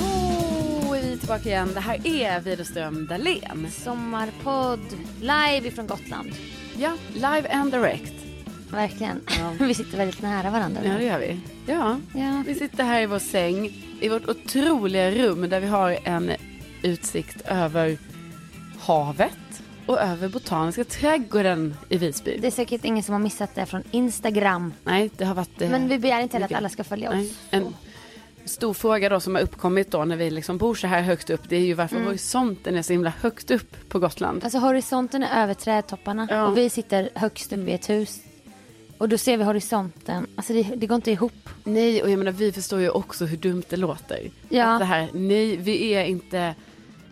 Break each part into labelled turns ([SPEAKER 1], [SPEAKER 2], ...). [SPEAKER 1] Oh, vi är tillbaka igen. Det här är Widerström Dahlén.
[SPEAKER 2] Sommarpodd live ifrån Gotland.
[SPEAKER 1] Ja, live and direct.
[SPEAKER 2] Verkligen.
[SPEAKER 1] Ja.
[SPEAKER 2] Vi sitter väldigt nära varandra.
[SPEAKER 1] Ja, det
[SPEAKER 2] nu.
[SPEAKER 1] gör vi. Ja,
[SPEAKER 2] Ja.
[SPEAKER 1] vi sitter här i vår säng i vårt otroliga rum där vi har en utsikt över havet och över Botaniska trädgården i Visby.
[SPEAKER 2] Det är säkert ingen som har missat det från Instagram.
[SPEAKER 1] Nej, det har varit... eh,
[SPEAKER 2] Men vi begär inte heller att
[SPEAKER 1] mycket.
[SPEAKER 2] alla ska följa oss.
[SPEAKER 1] Nej, en stor fråga då som har uppkommit då när vi liksom bor så här högt upp det är ju varför horisonten är så himla högt upp på Gotland.
[SPEAKER 2] Alltså horisonten är över trädtopparna
[SPEAKER 1] Ja.
[SPEAKER 2] och vi sitter högst upp i ett hus. Och då ser vi horisonten. Alltså det, det går inte ihop.
[SPEAKER 1] Nej, och jag menar vi förstår ju också hur dumt det låter.
[SPEAKER 2] Ja.
[SPEAKER 1] Att det här, nej, vi är inte,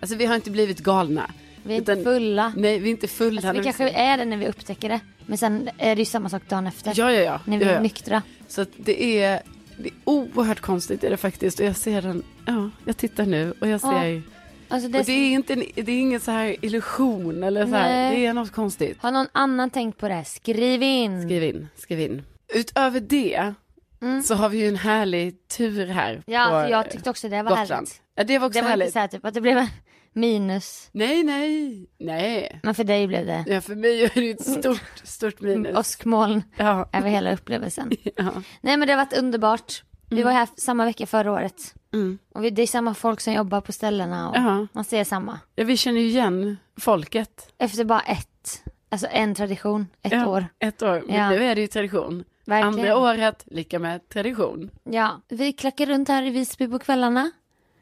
[SPEAKER 1] alltså vi har inte blivit galna.
[SPEAKER 2] Vi är inte fulla.
[SPEAKER 1] Nej, vi är inte fulla.
[SPEAKER 2] Alltså, vi
[SPEAKER 1] när
[SPEAKER 2] kanske är det när vi upptäcker det. Men sen är det ju samma sak dagen efter.
[SPEAKER 1] Ja, ja, ja.
[SPEAKER 2] När vi
[SPEAKER 1] ja,
[SPEAKER 2] är
[SPEAKER 1] ja.
[SPEAKER 2] nyktra.
[SPEAKER 1] Så att det är, det är oerhört konstigt är det faktiskt. Och jag ser den, ja, jag tittar nu och jag
[SPEAKER 2] Ja,
[SPEAKER 1] ser.
[SPEAKER 2] Alltså
[SPEAKER 1] och det är inte, en, det är ingen så här illusion eller så här,
[SPEAKER 2] Nej.
[SPEAKER 1] det är något konstigt.
[SPEAKER 2] Har någon annan tänkt på det? här? Skriv in.
[SPEAKER 1] Skriv in, skriv in. Utöver det så har vi ju en härlig tur här
[SPEAKER 2] Mm. Ja,
[SPEAKER 1] på eh,
[SPEAKER 2] alltså, jag tyckte också det var
[SPEAKER 1] Gotland.
[SPEAKER 2] härligt.
[SPEAKER 1] Ja, det var också
[SPEAKER 2] Det var
[SPEAKER 1] härligt.
[SPEAKER 2] inte så här typ att det blev minus.
[SPEAKER 1] Nej, nej, nej.
[SPEAKER 2] Men för dig blev det
[SPEAKER 1] Ja, för mig är det ju ett stort, stort minus.
[SPEAKER 2] åskmoln
[SPEAKER 1] Ja.
[SPEAKER 2] över hela upplevelsen.
[SPEAKER 1] Ja.
[SPEAKER 2] Nej men det har varit underbart. Vi
[SPEAKER 1] Mm.
[SPEAKER 2] var här samma vecka förra året. Och vi, det är samma folk som jobbar på ställena och
[SPEAKER 1] Ja.
[SPEAKER 2] man ser samma.
[SPEAKER 1] ja, vi känner ju igen folket.
[SPEAKER 2] Efter bara ett, alltså en tradition, ett
[SPEAKER 1] ja,
[SPEAKER 2] år.
[SPEAKER 1] Ett år, men
[SPEAKER 2] Ja.
[SPEAKER 1] nu är det ju tradition.
[SPEAKER 2] Verkligen.
[SPEAKER 1] Andra året, lika med tradition.
[SPEAKER 2] Ja, vi klackar runt här i Visby på kvällarna.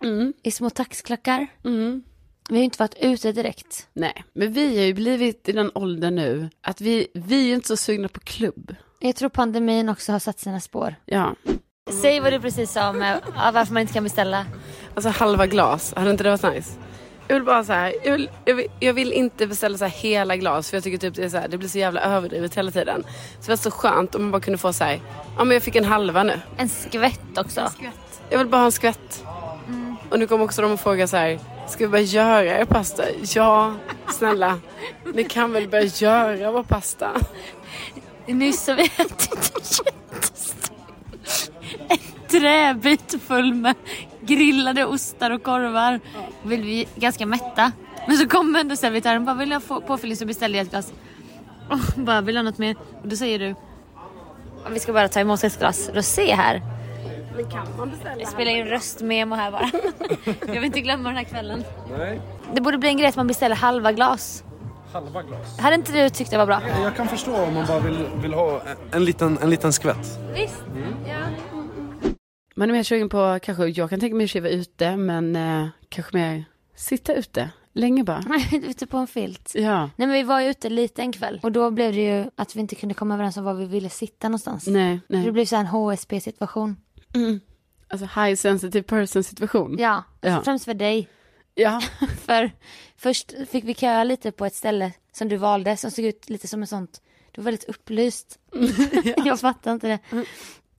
[SPEAKER 1] Mm.
[SPEAKER 2] I små taxklackar. Vi har ju inte varit ute direkt.
[SPEAKER 1] Nej, men vi har ju blivit i den åldern nu att vi, vi är inte så sugna på klubb.
[SPEAKER 2] Jag tror pandemin också har satt sina spår.
[SPEAKER 1] Ja,
[SPEAKER 2] Säg vad du precis sa om eh, varför man inte kan beställa.
[SPEAKER 3] Alltså halva glas, hade inte det varit nice? Jag vill bara så här, jag vill, jag vill, jag vill inte beställa så här hela glas för jag tycker typ det är så här, det blir så jävla överdrivet hela tiden. Så det var så skönt om man bara kunde få så här, ja men jag fick en halva nu.
[SPEAKER 2] En skvätt också.
[SPEAKER 3] Jag vill bara ha en skvätt.
[SPEAKER 1] Mm.
[SPEAKER 3] Och nu kommer också de och fråga så här, ska vi börja göra er pasta? Ja, snälla. Ni kan väl börja göra vår pasta?
[SPEAKER 2] Nyss har vi ätit en jättestor en träbit full med grillade ostar och korvar. Vill vi ganska mätta. Men så kommer ändå servitören och bara vill jag få påfyllning så beställer jag ett glas. Och bara vill jag något mer? Och då säger du vi ska bara ta emot ett glas rosé här. Men kan man beställa jag spelar in röstmemo här bara. jag vill inte glömma den här kvällen.
[SPEAKER 4] Nej,
[SPEAKER 2] Det borde bli en grej att man beställer halva glas.
[SPEAKER 4] halva glas.
[SPEAKER 2] Hade inte du tyckt det var bra?
[SPEAKER 4] Jag kan förstå om man bara vill, vill ha en liten, en liten skvätt.
[SPEAKER 2] Visst. Ja.
[SPEAKER 1] man är mer sugen på kanske, jag kan tänka mig att vara ute, men eh, kanske mer sitta ute länge bara.
[SPEAKER 2] Ute på en filt.
[SPEAKER 1] Ja,
[SPEAKER 2] Nej men vi var ju ute lite en kväll och då blev det ju att vi inte kunde komma överens om var vi ville sitta någonstans.
[SPEAKER 1] nej,
[SPEAKER 2] Så Det
[SPEAKER 1] nej.
[SPEAKER 2] blev så här en HSP situation.
[SPEAKER 1] Alltså high sensitive person situation.
[SPEAKER 2] Ja, alltså
[SPEAKER 1] Ja.
[SPEAKER 2] främst för dig.
[SPEAKER 1] Ja.
[SPEAKER 2] För först fick vi köa lite på ett ställe som du valde som såg ut lite som en sånt, det var väldigt upplyst. Jag fattar inte det.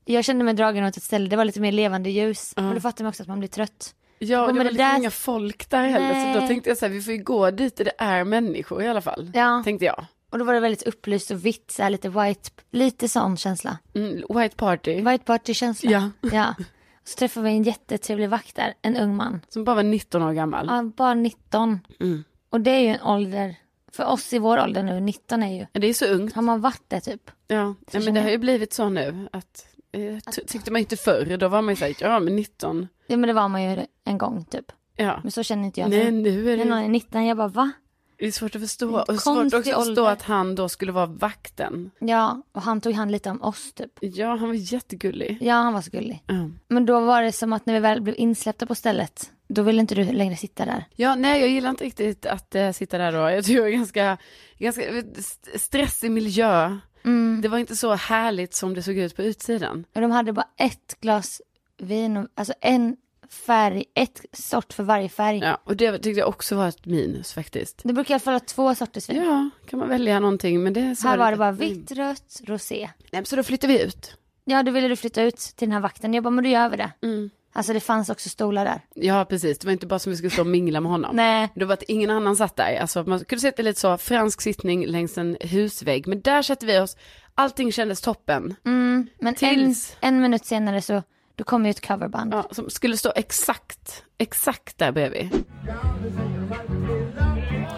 [SPEAKER 2] Jag kände mig dragen åt ett ställe, det var lite mer levande ljus. Men då fattar man också att man blir trött.
[SPEAKER 1] Ja, och
[SPEAKER 2] Men
[SPEAKER 1] det var
[SPEAKER 2] det
[SPEAKER 1] liksom
[SPEAKER 2] där-
[SPEAKER 1] inga folk där heller. Så då
[SPEAKER 2] Nej.
[SPEAKER 1] tänkte jag så här, vi får ju gå dit där det är människor i alla fall.
[SPEAKER 2] Ja.
[SPEAKER 1] Tänkte jag.
[SPEAKER 2] Och då var det väldigt upplyst och vitt, så här lite white, lite sån känsla.
[SPEAKER 1] Mm, white party.
[SPEAKER 2] White party-känsla.
[SPEAKER 1] Ja.
[SPEAKER 2] ja. Och så träffade vi en jättetrevlig vakt där, en ung man.
[SPEAKER 1] Som bara var 19 år gammal.
[SPEAKER 2] Ja, bara 19.
[SPEAKER 1] Mm.
[SPEAKER 2] Och det är ju en ålder, för oss i vår ålder nu, 19 är ju,
[SPEAKER 1] Det är så ungt.
[SPEAKER 2] har man varit det typ?
[SPEAKER 1] Ja. ja, men det har ju blivit så nu att eh, ty- tyckte man ju inte förr, då var man ju såhär, ja men 19,
[SPEAKER 2] Ja men det var man ju en gång typ.
[SPEAKER 1] ja.
[SPEAKER 2] Men så känner inte jag
[SPEAKER 1] Nej
[SPEAKER 2] nu.
[SPEAKER 1] nu är
[SPEAKER 2] När någon
[SPEAKER 1] det,
[SPEAKER 2] är 19, jag bara va?
[SPEAKER 1] det är svårt att förstå. Och svårt
[SPEAKER 2] Konstig
[SPEAKER 1] också att förstå
[SPEAKER 2] ålder.
[SPEAKER 1] att han då skulle vara vakten.
[SPEAKER 2] Ja, och han tog hand lite om oss typ.
[SPEAKER 1] Ja, han var jättegullig. Mm.
[SPEAKER 2] Ja, han var så gullig.
[SPEAKER 1] Ja.
[SPEAKER 2] Men då var det som att när vi väl blev insläppta på stället, då ville inte du längre sitta där.
[SPEAKER 1] Ja, nej jag gillar inte riktigt att eh, sitta där då. Jag tror jag är ganska, ganska eh, st- stressig miljö.
[SPEAKER 2] Mm.
[SPEAKER 1] Det var inte så härligt som det såg ut på utsidan.
[SPEAKER 2] Och de hade bara ett glas vin, och, alltså en färg, ett sort för varje färg.
[SPEAKER 1] Ja, och det tyckte jag också var ett minus faktiskt.
[SPEAKER 2] Det brukar i alla fall vara två sorters vin.
[SPEAKER 1] Ja, kan man välja någonting men det Mm. så
[SPEAKER 2] Här var det
[SPEAKER 1] inte.
[SPEAKER 2] bara vitt, rött, rosé.
[SPEAKER 1] Nej, men så då flyttar vi ut.
[SPEAKER 2] Ja, då ville du flytta ut till den här vakten. Jag bara, men då gör vi det.
[SPEAKER 1] Mm.
[SPEAKER 2] Alltså det fanns också stolar där.
[SPEAKER 1] Ja, precis. Det var inte bara som vi skulle stå och mingla med honom.
[SPEAKER 2] Nej.
[SPEAKER 1] Det var att ingen annan satt där. Alltså, man kunde sitta lite så, fransk sittning längs en husvägg. Men där satte vi oss, allting kändes toppen.
[SPEAKER 2] Mm. Men en,
[SPEAKER 1] Tills-
[SPEAKER 2] en minut senare så, då kom ju ett coverband.
[SPEAKER 1] Ja, som skulle stå exakt, exakt där bredvid.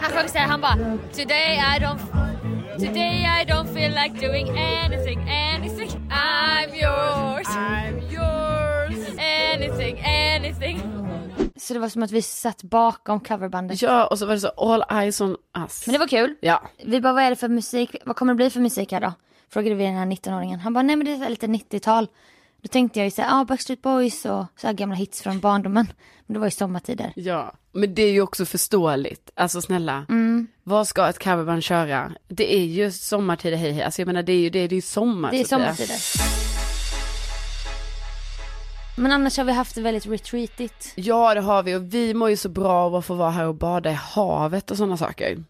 [SPEAKER 5] Han sjöng så här, han bara Today I don't Today I don't feel like doing anything, anything I'm yours I'm yours Anything, anything
[SPEAKER 2] Så det var som att vi satt bakom coverbandet.
[SPEAKER 1] Ja, och så var det så, all eyes on us.
[SPEAKER 2] Men det var kul.
[SPEAKER 1] Ja,
[SPEAKER 2] Vi bara, vad är det för musik? Vad kommer det bli för musik här då? Frågade vi den här 19-åringen. Han bara, nej men det är så här lite 90-tal. Då tänkte jag ju såhär, ah, Backstreet Boys och så här gamla hits från barndomen. Men det var ju sommartider.
[SPEAKER 1] ja. Men det är ju också förståeligt. Alltså snälla,
[SPEAKER 2] Mm.
[SPEAKER 1] vad ska ett coverband köra? Det är ju sommartider, hej hej. Alltså jag menar, det är ju, det är, det är ju sommar.
[SPEAKER 2] Det är
[SPEAKER 1] så att säga.
[SPEAKER 2] sommartider. Men annars har vi haft det väldigt retreatigt.
[SPEAKER 1] Ja, det har vi. Och vi mår ju så bra av att få vara här och bada i havet och sådana saker.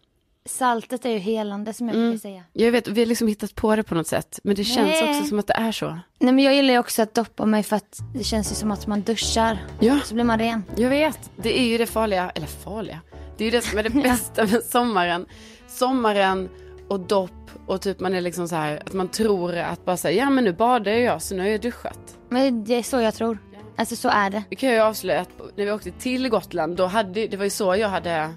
[SPEAKER 2] Saltet är ju helande som
[SPEAKER 1] Mm.
[SPEAKER 2] jag brukar säga.
[SPEAKER 1] Jag vet, vi har liksom hittat på det på något sätt. Men det känns
[SPEAKER 2] Nej.
[SPEAKER 1] också som att det är så.
[SPEAKER 2] Nej men jag gillar ju också att doppa mig för att det känns ju som att man duschar.
[SPEAKER 1] Ja.
[SPEAKER 2] Så blir man ren.
[SPEAKER 1] Jag vet, det är ju det farliga, eller farliga, det är ju det som är det bästa med sommaren. Sommaren och dopp och typ man är liksom så här, att man tror att bara säga ja men nu badar jag så nu har jag duschat.
[SPEAKER 2] Men det är så jag tror. Alltså så är det.
[SPEAKER 1] Det kan jag ju avslöja att när vi åkte till Gotland, då hade, det var ju så jag hade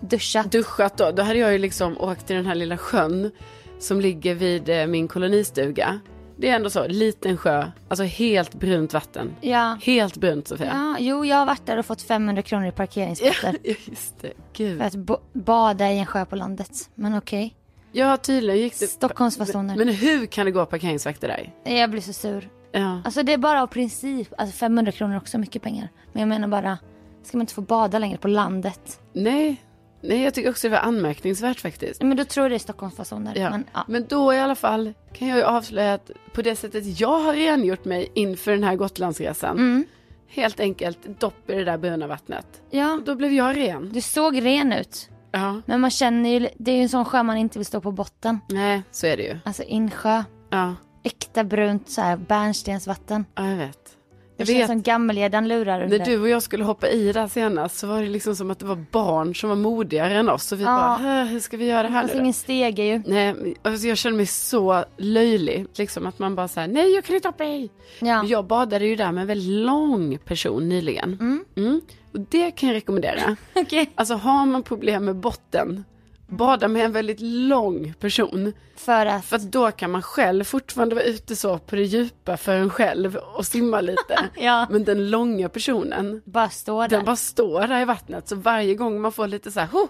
[SPEAKER 2] Duscha.
[SPEAKER 1] duschat då. Då hade jag ju liksom åkt till den här lilla sjön som ligger vid eh, min kolonistuga. Det är ändå så, liten sjö, alltså helt brunt vatten.
[SPEAKER 2] Ja.
[SPEAKER 1] Helt brunt Sofia.
[SPEAKER 2] ja. Jo jag har varit där och fått 500 kronor i parkeringsböter.
[SPEAKER 1] Ja, just det. Gud.
[SPEAKER 2] För att bo- bada i en sjö på landet. Men okej.
[SPEAKER 1] Ja, tydligen gick det.
[SPEAKER 2] Stockholmsfasoner.
[SPEAKER 1] Men hur kan det gå parkeringsvakter där?
[SPEAKER 2] Jag blir så sur.
[SPEAKER 1] Ja.
[SPEAKER 2] Alltså det är bara av princip. Alltså 500 kronor är också mycket pengar. Men jag menar bara. Ska man inte få bada längre på landet?
[SPEAKER 1] Nej. Nej, jag tycker också det var anmärkningsvärt faktiskt.
[SPEAKER 2] Men då tror jag det är Stockholmsfasoner.
[SPEAKER 1] Ja.
[SPEAKER 2] Men, ja.
[SPEAKER 1] Men då i alla fall kan jag ju avslöja att på det sättet jag har rengjort mig inför den här Gotlandsresan.
[SPEAKER 2] Mm.
[SPEAKER 1] Helt enkelt dopp i det där bruna vattnet.
[SPEAKER 2] ja.
[SPEAKER 1] Då blev jag ren.
[SPEAKER 2] Du såg ren ut.
[SPEAKER 1] Ja.
[SPEAKER 2] Men man känner ju. Det är ju en sån sjö man inte vill stå på botten.
[SPEAKER 1] Nej, så är det ju.
[SPEAKER 2] Alltså insjö.
[SPEAKER 1] Ja,
[SPEAKER 2] Äkta brunt så här bärnstensvatten.
[SPEAKER 1] ja jag vet.
[SPEAKER 2] Det
[SPEAKER 1] Jag
[SPEAKER 2] känns
[SPEAKER 1] vet.
[SPEAKER 2] som gammelgäddan lurar under.
[SPEAKER 1] När du och jag skulle hoppa i där senast så var det liksom som att det var barn som var modigare än oss. Och vi bara, "Äh, hur ska vi göra det här
[SPEAKER 2] Alltså
[SPEAKER 1] nu då?"
[SPEAKER 2] ingen stege ju.
[SPEAKER 1] Nej, men, alltså jag känner mig så löjlig. Liksom att man bara säger nej jag kan inte hoppa i.
[SPEAKER 2] Ja.
[SPEAKER 1] Jag badade ju där med en väldigt lång person nyligen. Mm. Och det kan jag rekommendera.
[SPEAKER 2] Okej.
[SPEAKER 1] Alltså har man problem med botten, bada med en väldigt lång person.
[SPEAKER 2] För att.
[SPEAKER 1] För att då kan man själv fortfarande vara ute så på det djupa för en själv och simma lite.
[SPEAKER 2] Ja.
[SPEAKER 1] Men den långa personen,
[SPEAKER 2] Bara stå där.
[SPEAKER 1] den bara står där i vattnet. Så varje gång man får lite så här, "Ho,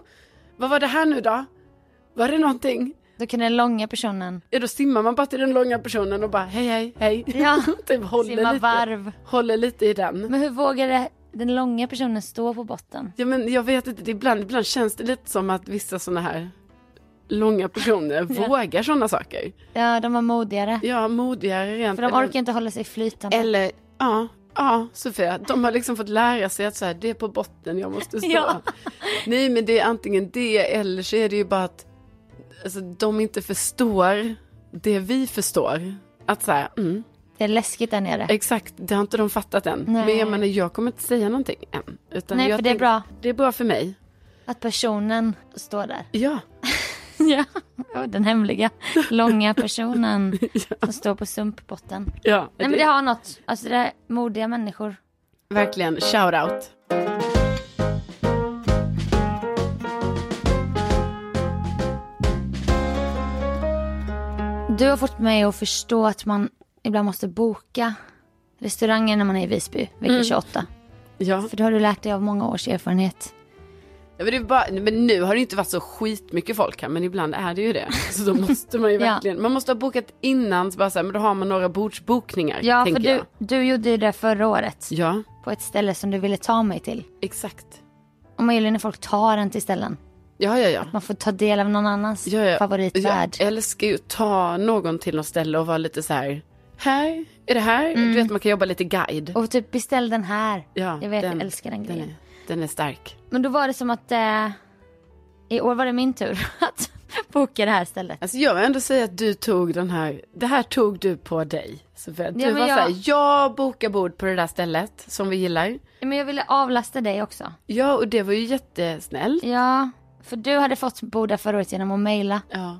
[SPEAKER 1] vad var det här nu då? Var det någonting?
[SPEAKER 2] Då kan den långa personen.
[SPEAKER 1] Ja, då simmar man bara till den långa personen och bara hej, hej, hej.
[SPEAKER 2] Ja.
[SPEAKER 1] typ håller
[SPEAKER 2] Simma
[SPEAKER 1] lite,
[SPEAKER 2] varv.
[SPEAKER 1] Håller lite i den.
[SPEAKER 2] Men hur vågade den långa personen stå på botten?
[SPEAKER 1] Ja, men jag vet inte, det ibland, ibland känns det lite som att vissa sådana här långa personer vågar sådana saker.
[SPEAKER 2] Ja, de var modigare.
[SPEAKER 1] Ja, modigare rent.
[SPEAKER 2] För de
[SPEAKER 1] eller-
[SPEAKER 2] orkar inte hålla sig flytande.
[SPEAKER 1] Eller, ja, Ja, Sofia, de har liksom fått lära sig att så här, det är på botten jag måste stå.
[SPEAKER 5] Ja.
[SPEAKER 1] Nej, men det är antingen det eller så är det ju bara att alltså, de inte förstår det vi förstår. Att så här, mm,
[SPEAKER 2] Det är läskigt där nere.
[SPEAKER 1] exakt, det har inte de fattat än.
[SPEAKER 2] Nej.
[SPEAKER 1] Men jag menar, jag kommer inte säga någonting än. Utan
[SPEAKER 2] Nej,
[SPEAKER 1] jag
[SPEAKER 2] för det är
[SPEAKER 1] tänk-
[SPEAKER 2] bra.
[SPEAKER 1] Det är bra för mig.
[SPEAKER 2] Att personen står där.
[SPEAKER 1] Ja,
[SPEAKER 2] Ja. Oj, Den hemliga, långa personen som står på sumpbotten.
[SPEAKER 1] ja.
[SPEAKER 2] Nej men det har något. Alltså det är modiga människor.
[SPEAKER 1] Verkligen, shout out.
[SPEAKER 2] Du har fått mig att förstå att man ibland måste boka restauranger när man är i Visby vecka
[SPEAKER 1] Mm.
[SPEAKER 2] 28.
[SPEAKER 1] Ja.
[SPEAKER 2] För det har du lärt dig av många års erfarenhet.
[SPEAKER 1] Ja, men, det är bara, men nu har det inte varit så skitmycket folk här, men ibland är det ju det. Så då måste man ju
[SPEAKER 2] Ja.
[SPEAKER 1] verkligen, man måste ha bokat innan, så bara så här, men då har man några bordsbokningar,
[SPEAKER 2] Ja för
[SPEAKER 1] tänker
[SPEAKER 2] du,
[SPEAKER 1] jag.
[SPEAKER 2] du gjorde ju det förra året.
[SPEAKER 1] Ja,
[SPEAKER 2] På ett ställe som du ville ta mig till.
[SPEAKER 1] exakt.
[SPEAKER 2] Och man gillar när folk tar en till ställen.
[SPEAKER 1] Ja, ja, ja.
[SPEAKER 2] Man får ta del av någon annans
[SPEAKER 1] ja, ja.
[SPEAKER 2] favoritvärld.
[SPEAKER 1] Jag älskar ju att ta någon till något ställe och vara lite så här, här, är det här? Du vet, man kan jobba lite guide.
[SPEAKER 2] Mm. Och typ beställ den här.
[SPEAKER 1] ja,
[SPEAKER 2] jag vet, jag älskar den grejen.
[SPEAKER 1] är, den är stark.
[SPEAKER 2] Men då var det som att eh, i år var det min tur att boka det här stället.
[SPEAKER 1] Alltså jag vill ändå säga att du tog den här, det här tog du på dig. Sofia. Du
[SPEAKER 2] men
[SPEAKER 1] var
[SPEAKER 2] jag-
[SPEAKER 1] så här, jag bokar bord på det där stället som vi gillar.
[SPEAKER 2] Men jag ville avlasta dig också.
[SPEAKER 1] Ja, och det var ju jättesnällt.
[SPEAKER 2] Ja, för du hade fått bo där förra året genom att mejla. Mm.
[SPEAKER 1] Ja.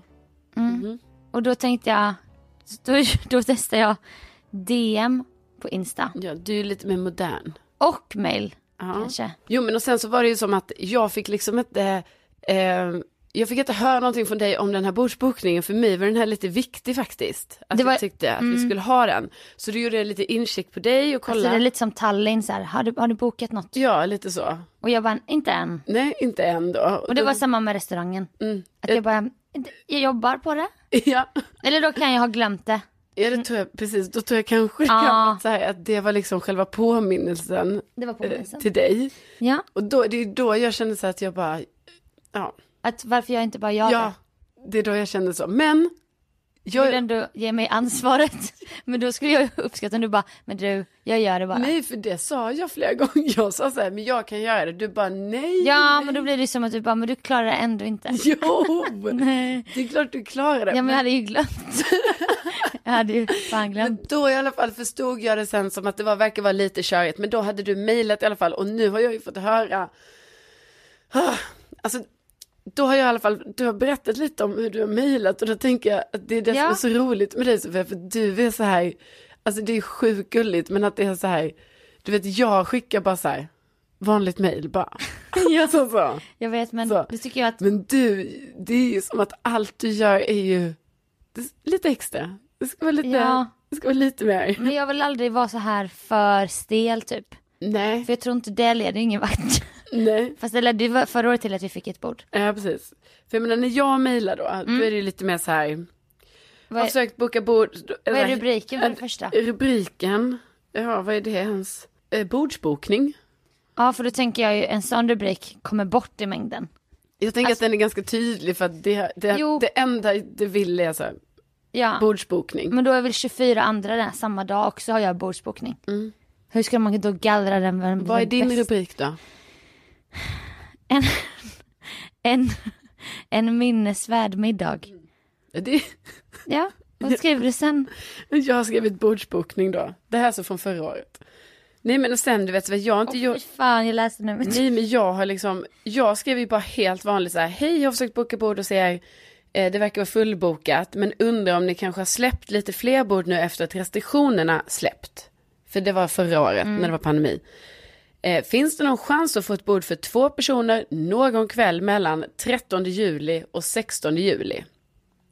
[SPEAKER 1] Mhm.
[SPEAKER 2] Och då tänkte jag, då, då testade jag DM på Insta.
[SPEAKER 1] ja, du är lite mer modern.
[SPEAKER 2] Och mail
[SPEAKER 1] Ja.
[SPEAKER 2] kanske. Alltså,
[SPEAKER 1] Jo, men och sen så var det ju som att jag fick liksom inte, eh, jag fick inte höra någonting från dig om den här bordsbokningen. För mig var den här lite viktig faktiskt. Att
[SPEAKER 2] Det var- Mm.
[SPEAKER 1] jag tyckte att vi skulle ha den. Så du gjorde jag lite inskick på dig och
[SPEAKER 2] Alltså
[SPEAKER 1] kollade.
[SPEAKER 2] det är lite som Tallinn så här, har du, har du bokat något?
[SPEAKER 1] Ja, lite så.
[SPEAKER 2] Och jag bara, inte än.
[SPEAKER 1] Nej, inte än då.
[SPEAKER 2] Och det var samma med restaurangen.
[SPEAKER 1] Mm.
[SPEAKER 2] Att jag bara, jag jobbar på det.
[SPEAKER 1] Ja.
[SPEAKER 2] Eller då kan jag ha glömt det.
[SPEAKER 1] ja, det tror jag, precis. Då tror jag kanske det kan
[SPEAKER 2] Mm. Ja.
[SPEAKER 1] vara så här, att det var liksom själva påminnelsen
[SPEAKER 2] Det var
[SPEAKER 1] eh,
[SPEAKER 2] påminnelsen.
[SPEAKER 1] till dig.
[SPEAKER 2] Ja,
[SPEAKER 1] Och då, det är då jag kände så här att jag bara, ja.
[SPEAKER 2] att varför jag inte bara gör
[SPEAKER 1] Ja,
[SPEAKER 2] det.
[SPEAKER 1] det är då jag känner så. Men,
[SPEAKER 2] Du
[SPEAKER 1] jag,
[SPEAKER 2] vill ändå ge mig ansvaret. Men då skulle jag uppskatta om du bara, men du, jag gör det bara.
[SPEAKER 1] nej för det sa jag flera gånger. Jag sa så här, men jag kan göra det. Du bara nej.
[SPEAKER 2] Ja, men då blir det ju som att du bara, men du klarar det ändå inte.
[SPEAKER 1] Jo,
[SPEAKER 2] Nej.
[SPEAKER 1] det är klart du klarar det.
[SPEAKER 2] Ja, men jag hade ju glömt. jag hade ju fan glömt.
[SPEAKER 1] Men då i alla fall förstod jag det sen som att det var, verkar vara lite körigt. Men då hade du mejlat i alla fall och nu har jag ju fått höra. Ah, Alltså, då har jag i alla fall, du har berättat lite om hur du har mejlat och då tänker jag att det är det
[SPEAKER 2] Ja.
[SPEAKER 1] som är så roligt med dig Sofia, för du är så här, alltså det är sjukt gulligt men att det är så här, du vet jag skickar bara så här, vanligt mejl bara. ja. så, så.
[SPEAKER 2] Jag vet, men
[SPEAKER 1] Så.
[SPEAKER 2] det tycker jag att,
[SPEAKER 1] Men du, det är ju som att allt du gör är ju det är lite extra. Det ska vara lite,
[SPEAKER 2] Ja.
[SPEAKER 1] det ska vara lite mer.
[SPEAKER 2] men jag vill aldrig vara så här för stel typ.
[SPEAKER 1] Nej,
[SPEAKER 2] För jag tror inte det leder ingen vart.
[SPEAKER 1] nej.
[SPEAKER 2] Fast det ledde ju förra året till att vi fick ett bord.
[SPEAKER 1] Ja, precis. För jag menar, när jag mejlar då, då är det ju lite mer så här, jag
[SPEAKER 2] Mm. Vad
[SPEAKER 1] har
[SPEAKER 2] är,
[SPEAKER 1] försökt boka bord.
[SPEAKER 2] vad är rubriken för det första?
[SPEAKER 1] Rubriken, ja vad är det ens? Eh, bordsbokning.
[SPEAKER 2] Ja, för då tänker jag ju en sån rubrik kommer bort i mängden.
[SPEAKER 1] Jag tänker
[SPEAKER 2] Alltså-
[SPEAKER 1] att den är ganska tydlig för att det, det,
[SPEAKER 2] Jo.
[SPEAKER 1] det enda det vill är så här,
[SPEAKER 2] Ja,
[SPEAKER 1] bordsbokning.
[SPEAKER 2] men då är väl 24 andra där samma dag också har jag bordsbokning. Hur ska man då gallra den? Vem
[SPEAKER 1] Mm. vad är din
[SPEAKER 2] bäst?
[SPEAKER 1] rubrik då?
[SPEAKER 2] En, en, en minnesvärd middag.
[SPEAKER 1] Det,
[SPEAKER 2] Ja, vad skriver du sen?
[SPEAKER 1] jag har skrivit bordsbokning då. Det här är så från förra året. Nej men och sen du vet, så här, jag har inte
[SPEAKER 2] Fy
[SPEAKER 1] gjort...
[SPEAKER 2] fan, jag läste numret.
[SPEAKER 1] Nej men jag har liksom, jag skrev ju bara helt vanligt så här, hej jag har försökt boka bord och säger, eh, det verkar vara fullbokat, men undrar om ni kanske har släppt lite fler bord nu efter att restriktionerna släppt. För det var förra året när det var pandemi. Eh, finns det någon chans att få ett bord för två personer någon kväll mellan 13 juli och 16 juli?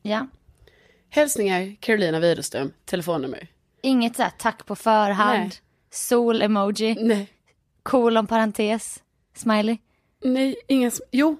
[SPEAKER 2] Ja.
[SPEAKER 1] Hälsningar Carolina Widerström, telefonnummer.
[SPEAKER 2] Inget så här tack på förhand,
[SPEAKER 1] Nej.
[SPEAKER 2] sol-emoji,
[SPEAKER 1] Nej,
[SPEAKER 2] kolon parentes, smiley.
[SPEAKER 1] nej, ingen, sm- jo,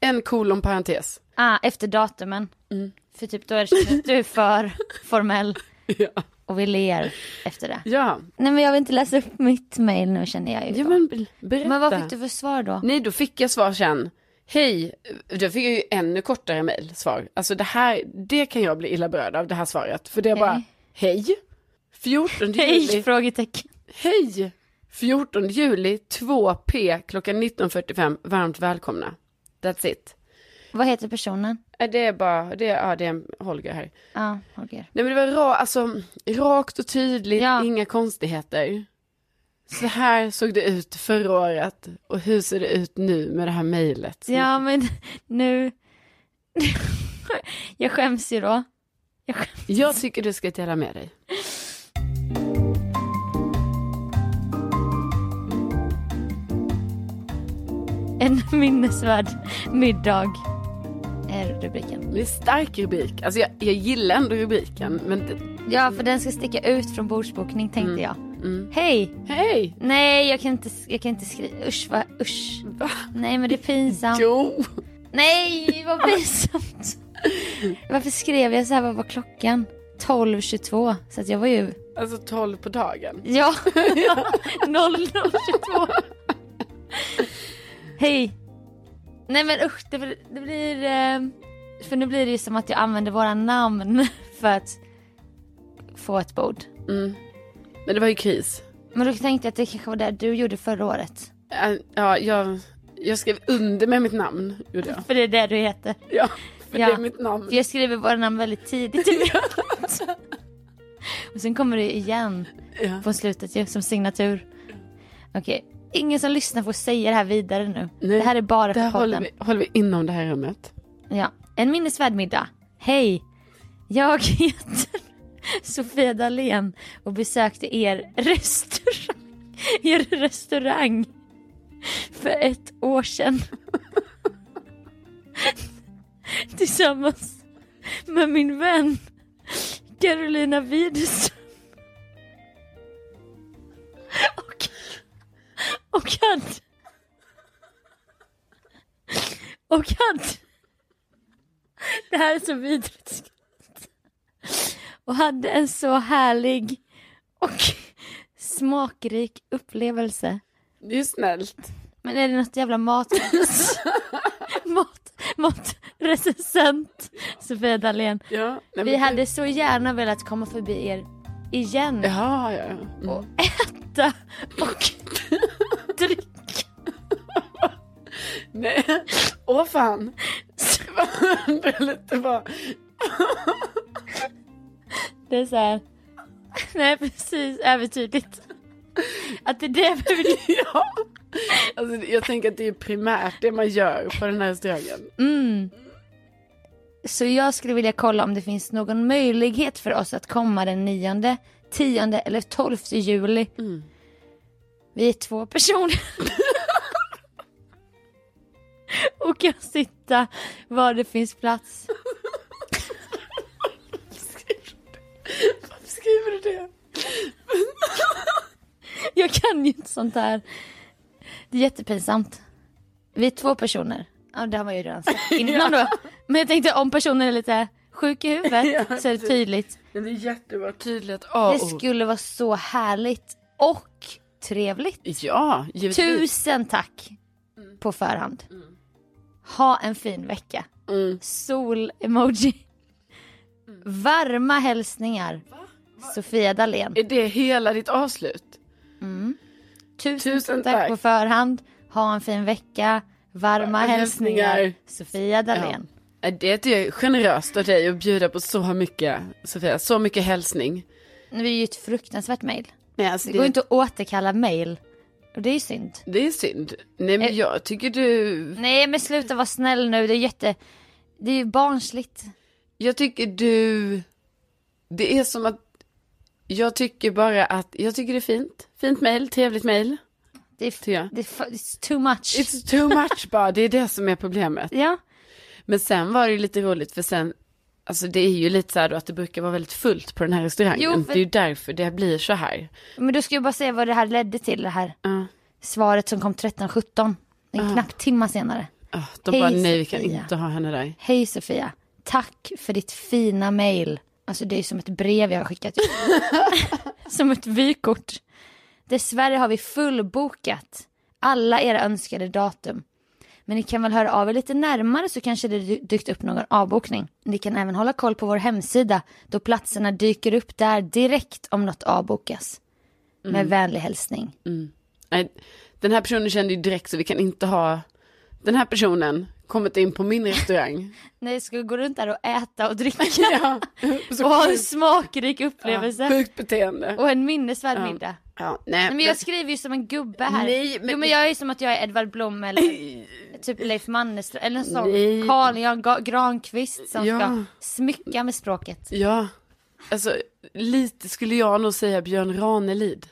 [SPEAKER 1] en kolon parentes.
[SPEAKER 2] Ah, efter datumen.
[SPEAKER 1] Mm.
[SPEAKER 2] För typ då är det, du är för formell
[SPEAKER 1] Ja.
[SPEAKER 2] och vi ler efter det.
[SPEAKER 1] Ja,
[SPEAKER 2] Nej men jag vill inte läsa upp mitt mail nu känner jag ju.
[SPEAKER 1] ja
[SPEAKER 2] då.
[SPEAKER 1] men be- berätta.
[SPEAKER 2] men vad fick du för svar då?
[SPEAKER 1] Nej, då fick jag svar sen. Hej, då fick jag ju ännu kortare mejl svar. Alltså det här, det kan jag bli illa berörd av det här svaret. För det är bara, hej, 14 juli.
[SPEAKER 2] Hej? Frågetecken.
[SPEAKER 1] Hej! 14 juli 2P klockan 19.45. Varmt välkomna. That's it.
[SPEAKER 2] Vad heter personen?
[SPEAKER 1] Eh, Det är bara, det är, ja det är en Holger här.
[SPEAKER 2] Ja, Holger.
[SPEAKER 1] Nej men det var ra, alltså, rakt och tydligt,
[SPEAKER 2] Ja.
[SPEAKER 1] inga konstigheter. Så här såg det ut förra året och hur ser det ut nu med det här mejlet? som-
[SPEAKER 2] Ja, men nu... jag skäms ju då. Jag skäms.
[SPEAKER 1] Jag tycker du ska dela med dig.
[SPEAKER 2] En minnesvärd middag är rubriken.
[SPEAKER 1] Det är stark rubrik, alltså jag, jag gillar ändå rubriken men det-
[SPEAKER 2] Ja, för den ska sticka ut från bordsbokning tänkte jag.
[SPEAKER 1] mm.
[SPEAKER 2] Hej!
[SPEAKER 1] hej!
[SPEAKER 2] Nej, jag kan inte, jag kan inte skriva. Usch, va? Usch.
[SPEAKER 1] Va?
[SPEAKER 2] Nej, men det är pinsamt.
[SPEAKER 1] Jo!
[SPEAKER 2] Nej, vad pinsamt. Varför skrev jag så här? Vad var klockan? 12.22. Så att jag var ju...
[SPEAKER 1] Alltså 12 på dagen.
[SPEAKER 2] Ja. 00.22. Hej. Nej men usch, det blir... Det blir eh, för nu blir det ju som att jag använder våra namn för att få ett bord.
[SPEAKER 1] Mm. Men det var ju kris.
[SPEAKER 2] Men då tänkte jag att det kanske var det du gjorde förra året.
[SPEAKER 1] Äh, Ja, jag, jag skrev under med mitt namn, gjorde jag.
[SPEAKER 2] För det är det du heter.
[SPEAKER 1] Ja, för
[SPEAKER 2] Ja.
[SPEAKER 1] det är mitt namn.
[SPEAKER 2] För jag skriver våra namn väldigt tidigt. Och sen kommer det igen
[SPEAKER 1] Ja.
[SPEAKER 2] på slutet ju, som signatur. Okej, ingen som lyssnar får säga det här vidare nu.
[SPEAKER 1] Nej,
[SPEAKER 2] det här är bara
[SPEAKER 1] Där
[SPEAKER 2] för
[SPEAKER 1] håller
[SPEAKER 2] podden.
[SPEAKER 1] vi, håller vi inom det här rummet.
[SPEAKER 2] Ja. En minnesvärd middag. Hej! Jag heter Sofia Dalén och besökte er restaurang, er restaurang för ett år sedan. Tillsammans med min vän Carolina Widerström. Och, och hade... Och hade... Det här är så vidrigt. Och hade en så härlig och smakrik upplevelse.
[SPEAKER 1] Det är ju snällt.
[SPEAKER 2] Men är det något jävla mat... mat... Matrecensent Sofia Dalén.
[SPEAKER 1] Ja, nej, men
[SPEAKER 2] Vi
[SPEAKER 1] det-
[SPEAKER 2] hade så gärna velat komma förbi er igen
[SPEAKER 1] Jaha, ja. Mm.
[SPEAKER 2] och äta och dricka.
[SPEAKER 1] Nej. Åh fan. Det är lite bara...
[SPEAKER 2] Det är så här. Nej precis, övertydligt. Att det är det vi vill
[SPEAKER 1] Ja. Alltså, jag tänker att det är primärt det man gör på den här restaurangen.
[SPEAKER 2] Mm. Så jag skulle vilja kolla om det finns någon möjlighet för oss att komma den 9, 10 eller 12 juli.
[SPEAKER 1] Mm.
[SPEAKER 2] Vi är två personer. Och kan sitta var det finns plats.
[SPEAKER 1] Varför skriver du det?
[SPEAKER 2] Jag kan ju inte sånt här. Det är jättepinsamt. Vi är två personer. Ja, det har man ju redan sagt innan då. Men jag tänkte om personen är lite sjuk i huvudet så är det tydligt.
[SPEAKER 1] Men det är jättebra tydligt
[SPEAKER 2] Det
[SPEAKER 1] A-ord.
[SPEAKER 2] skulle vara så härligt och trevligt.
[SPEAKER 1] Ja, givetvis.
[SPEAKER 2] Tusen tack på förhand. Ha en fin vecka.
[SPEAKER 1] Mm.
[SPEAKER 2] Sol-emoji. Varma hälsningar. Sofia Dalén.
[SPEAKER 1] Är det hela ditt avslut?
[SPEAKER 2] Tusen,
[SPEAKER 1] tusen
[SPEAKER 2] tack,
[SPEAKER 1] tack.
[SPEAKER 2] på förhand. Ha en fin vecka. Varma
[SPEAKER 1] Varma
[SPEAKER 2] hälsningar.
[SPEAKER 1] hälsningar.
[SPEAKER 2] Sofia Dalén.
[SPEAKER 1] Ja. Äh, Det är ju generöst av dig att bjuda på så mycket, Sofia. Så mycket hälsning.
[SPEAKER 2] Nu är det ju ett fruktansvärt mejl.
[SPEAKER 1] Nej, alltså,
[SPEAKER 2] Det går inte att återkalla mejl. Och det är ju synd.
[SPEAKER 1] det är synd. Nej, men
[SPEAKER 2] Eh.
[SPEAKER 1] jag tycker du...
[SPEAKER 2] Nej men sluta vara snäll nu. Det är jätte... Det är ju barnsligt.
[SPEAKER 1] Jag tycker du... Det är som att... Jag tycker bara att... Jag tycker det är fint. Fint mejl, trevligt mejl.
[SPEAKER 2] Det är,
[SPEAKER 1] Tycker jag.
[SPEAKER 2] det är fa- it's too much.
[SPEAKER 1] Typ. It's too much bara, det är det som är problemet.
[SPEAKER 2] Ja.
[SPEAKER 1] Men sen var det ju lite roligt för sen, alltså det är ju lite så här då att det brukar vara väldigt fullt på den här restaurangen.
[SPEAKER 2] Jo,
[SPEAKER 1] Det
[SPEAKER 2] för-
[SPEAKER 1] är ju därför det blir så här.
[SPEAKER 2] Men du ska jag bara säga vad det här ledde till, det här
[SPEAKER 1] Ja.
[SPEAKER 2] svaret som kom 13.17. En knapp timma senare.
[SPEAKER 1] Ah, de
[SPEAKER 2] Hej,
[SPEAKER 1] bara, nej vi kan
[SPEAKER 2] Sofia."
[SPEAKER 1] inte ha henne där.
[SPEAKER 2] Hej Sofia, tack för ditt fina mail. Alltså det är som ett brev jag har skickat ut. som ett vykort. Dessvärre har vi fullbokat alla era önskade datum. Men ni kan väl höra av er lite närmare så kanske det dy- dykt upp någon avbokning. Ni kan även hålla koll på vår hemsida då platserna dyker upp där direkt om något avbokas.
[SPEAKER 1] Mm.
[SPEAKER 2] Med vänlig hälsning.
[SPEAKER 1] Nej, den här personen kände ju direkt så vi kan inte ha den här personen kommit in på min restaurang.
[SPEAKER 2] Nej, ska vi gå runt där och äta och dricka?
[SPEAKER 1] ja, så
[SPEAKER 2] och ha en
[SPEAKER 1] sjukt-
[SPEAKER 2] smakrik
[SPEAKER 1] ja,
[SPEAKER 2] upplevelse.
[SPEAKER 1] sjukt beteende.
[SPEAKER 2] och en minnesvärd
[SPEAKER 1] Ja.
[SPEAKER 2] middag.
[SPEAKER 1] Ja,
[SPEAKER 2] Nej, men jag skriver ju som en gubbe här.
[SPEAKER 1] Nej, men-
[SPEAKER 2] Jo men jag är som att jag är Edvard Blom eller typ Leif Mannerström eller en sån.
[SPEAKER 1] Nej.
[SPEAKER 2] Carl Jan Ga- Granqvist som
[SPEAKER 1] Ja.
[SPEAKER 2] ska smycka med språket.
[SPEAKER 1] Ja, alltså lite skulle jag nog säga Björn Ranelid.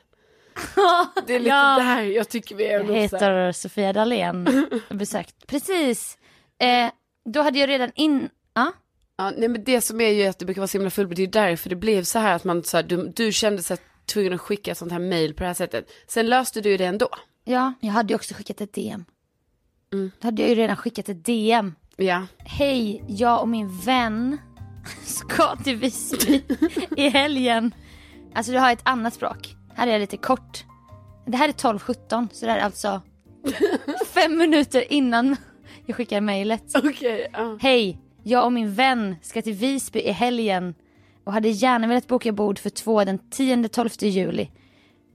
[SPEAKER 1] Det är lite
[SPEAKER 2] Ja.
[SPEAKER 1] där jag tycker vi är.
[SPEAKER 2] Jag
[SPEAKER 1] nog så här-
[SPEAKER 2] heter Sofia Dalén. Besökt. Precis. Eh, då hade jag redan in... Ja.
[SPEAKER 1] Ja, nej, men det som är ju att du brukar vara så himla full, det är ju därför det blev så här att man, så här, du, du kände sig tvungen att skicka ett sånt här mail på det här sättet. Sen löste du ju det ändå.
[SPEAKER 2] ja, jag hade ju också skickat ett DM.
[SPEAKER 1] Mm.
[SPEAKER 2] Då hade jag ju redan skickat ett DM.
[SPEAKER 1] Ja,
[SPEAKER 2] Hej, jag och min vän ska till Visby i helgen. Alltså du har ett annat språk. Här är jag lite kort. Det här är 12.17 så det här är alltså fem minuter innan jag skickar mejlet.
[SPEAKER 1] okej. ja.
[SPEAKER 2] Hej, jag och min vän ska till Visby i helgen och hade gärna velat boka bord för två den 10-12 juli.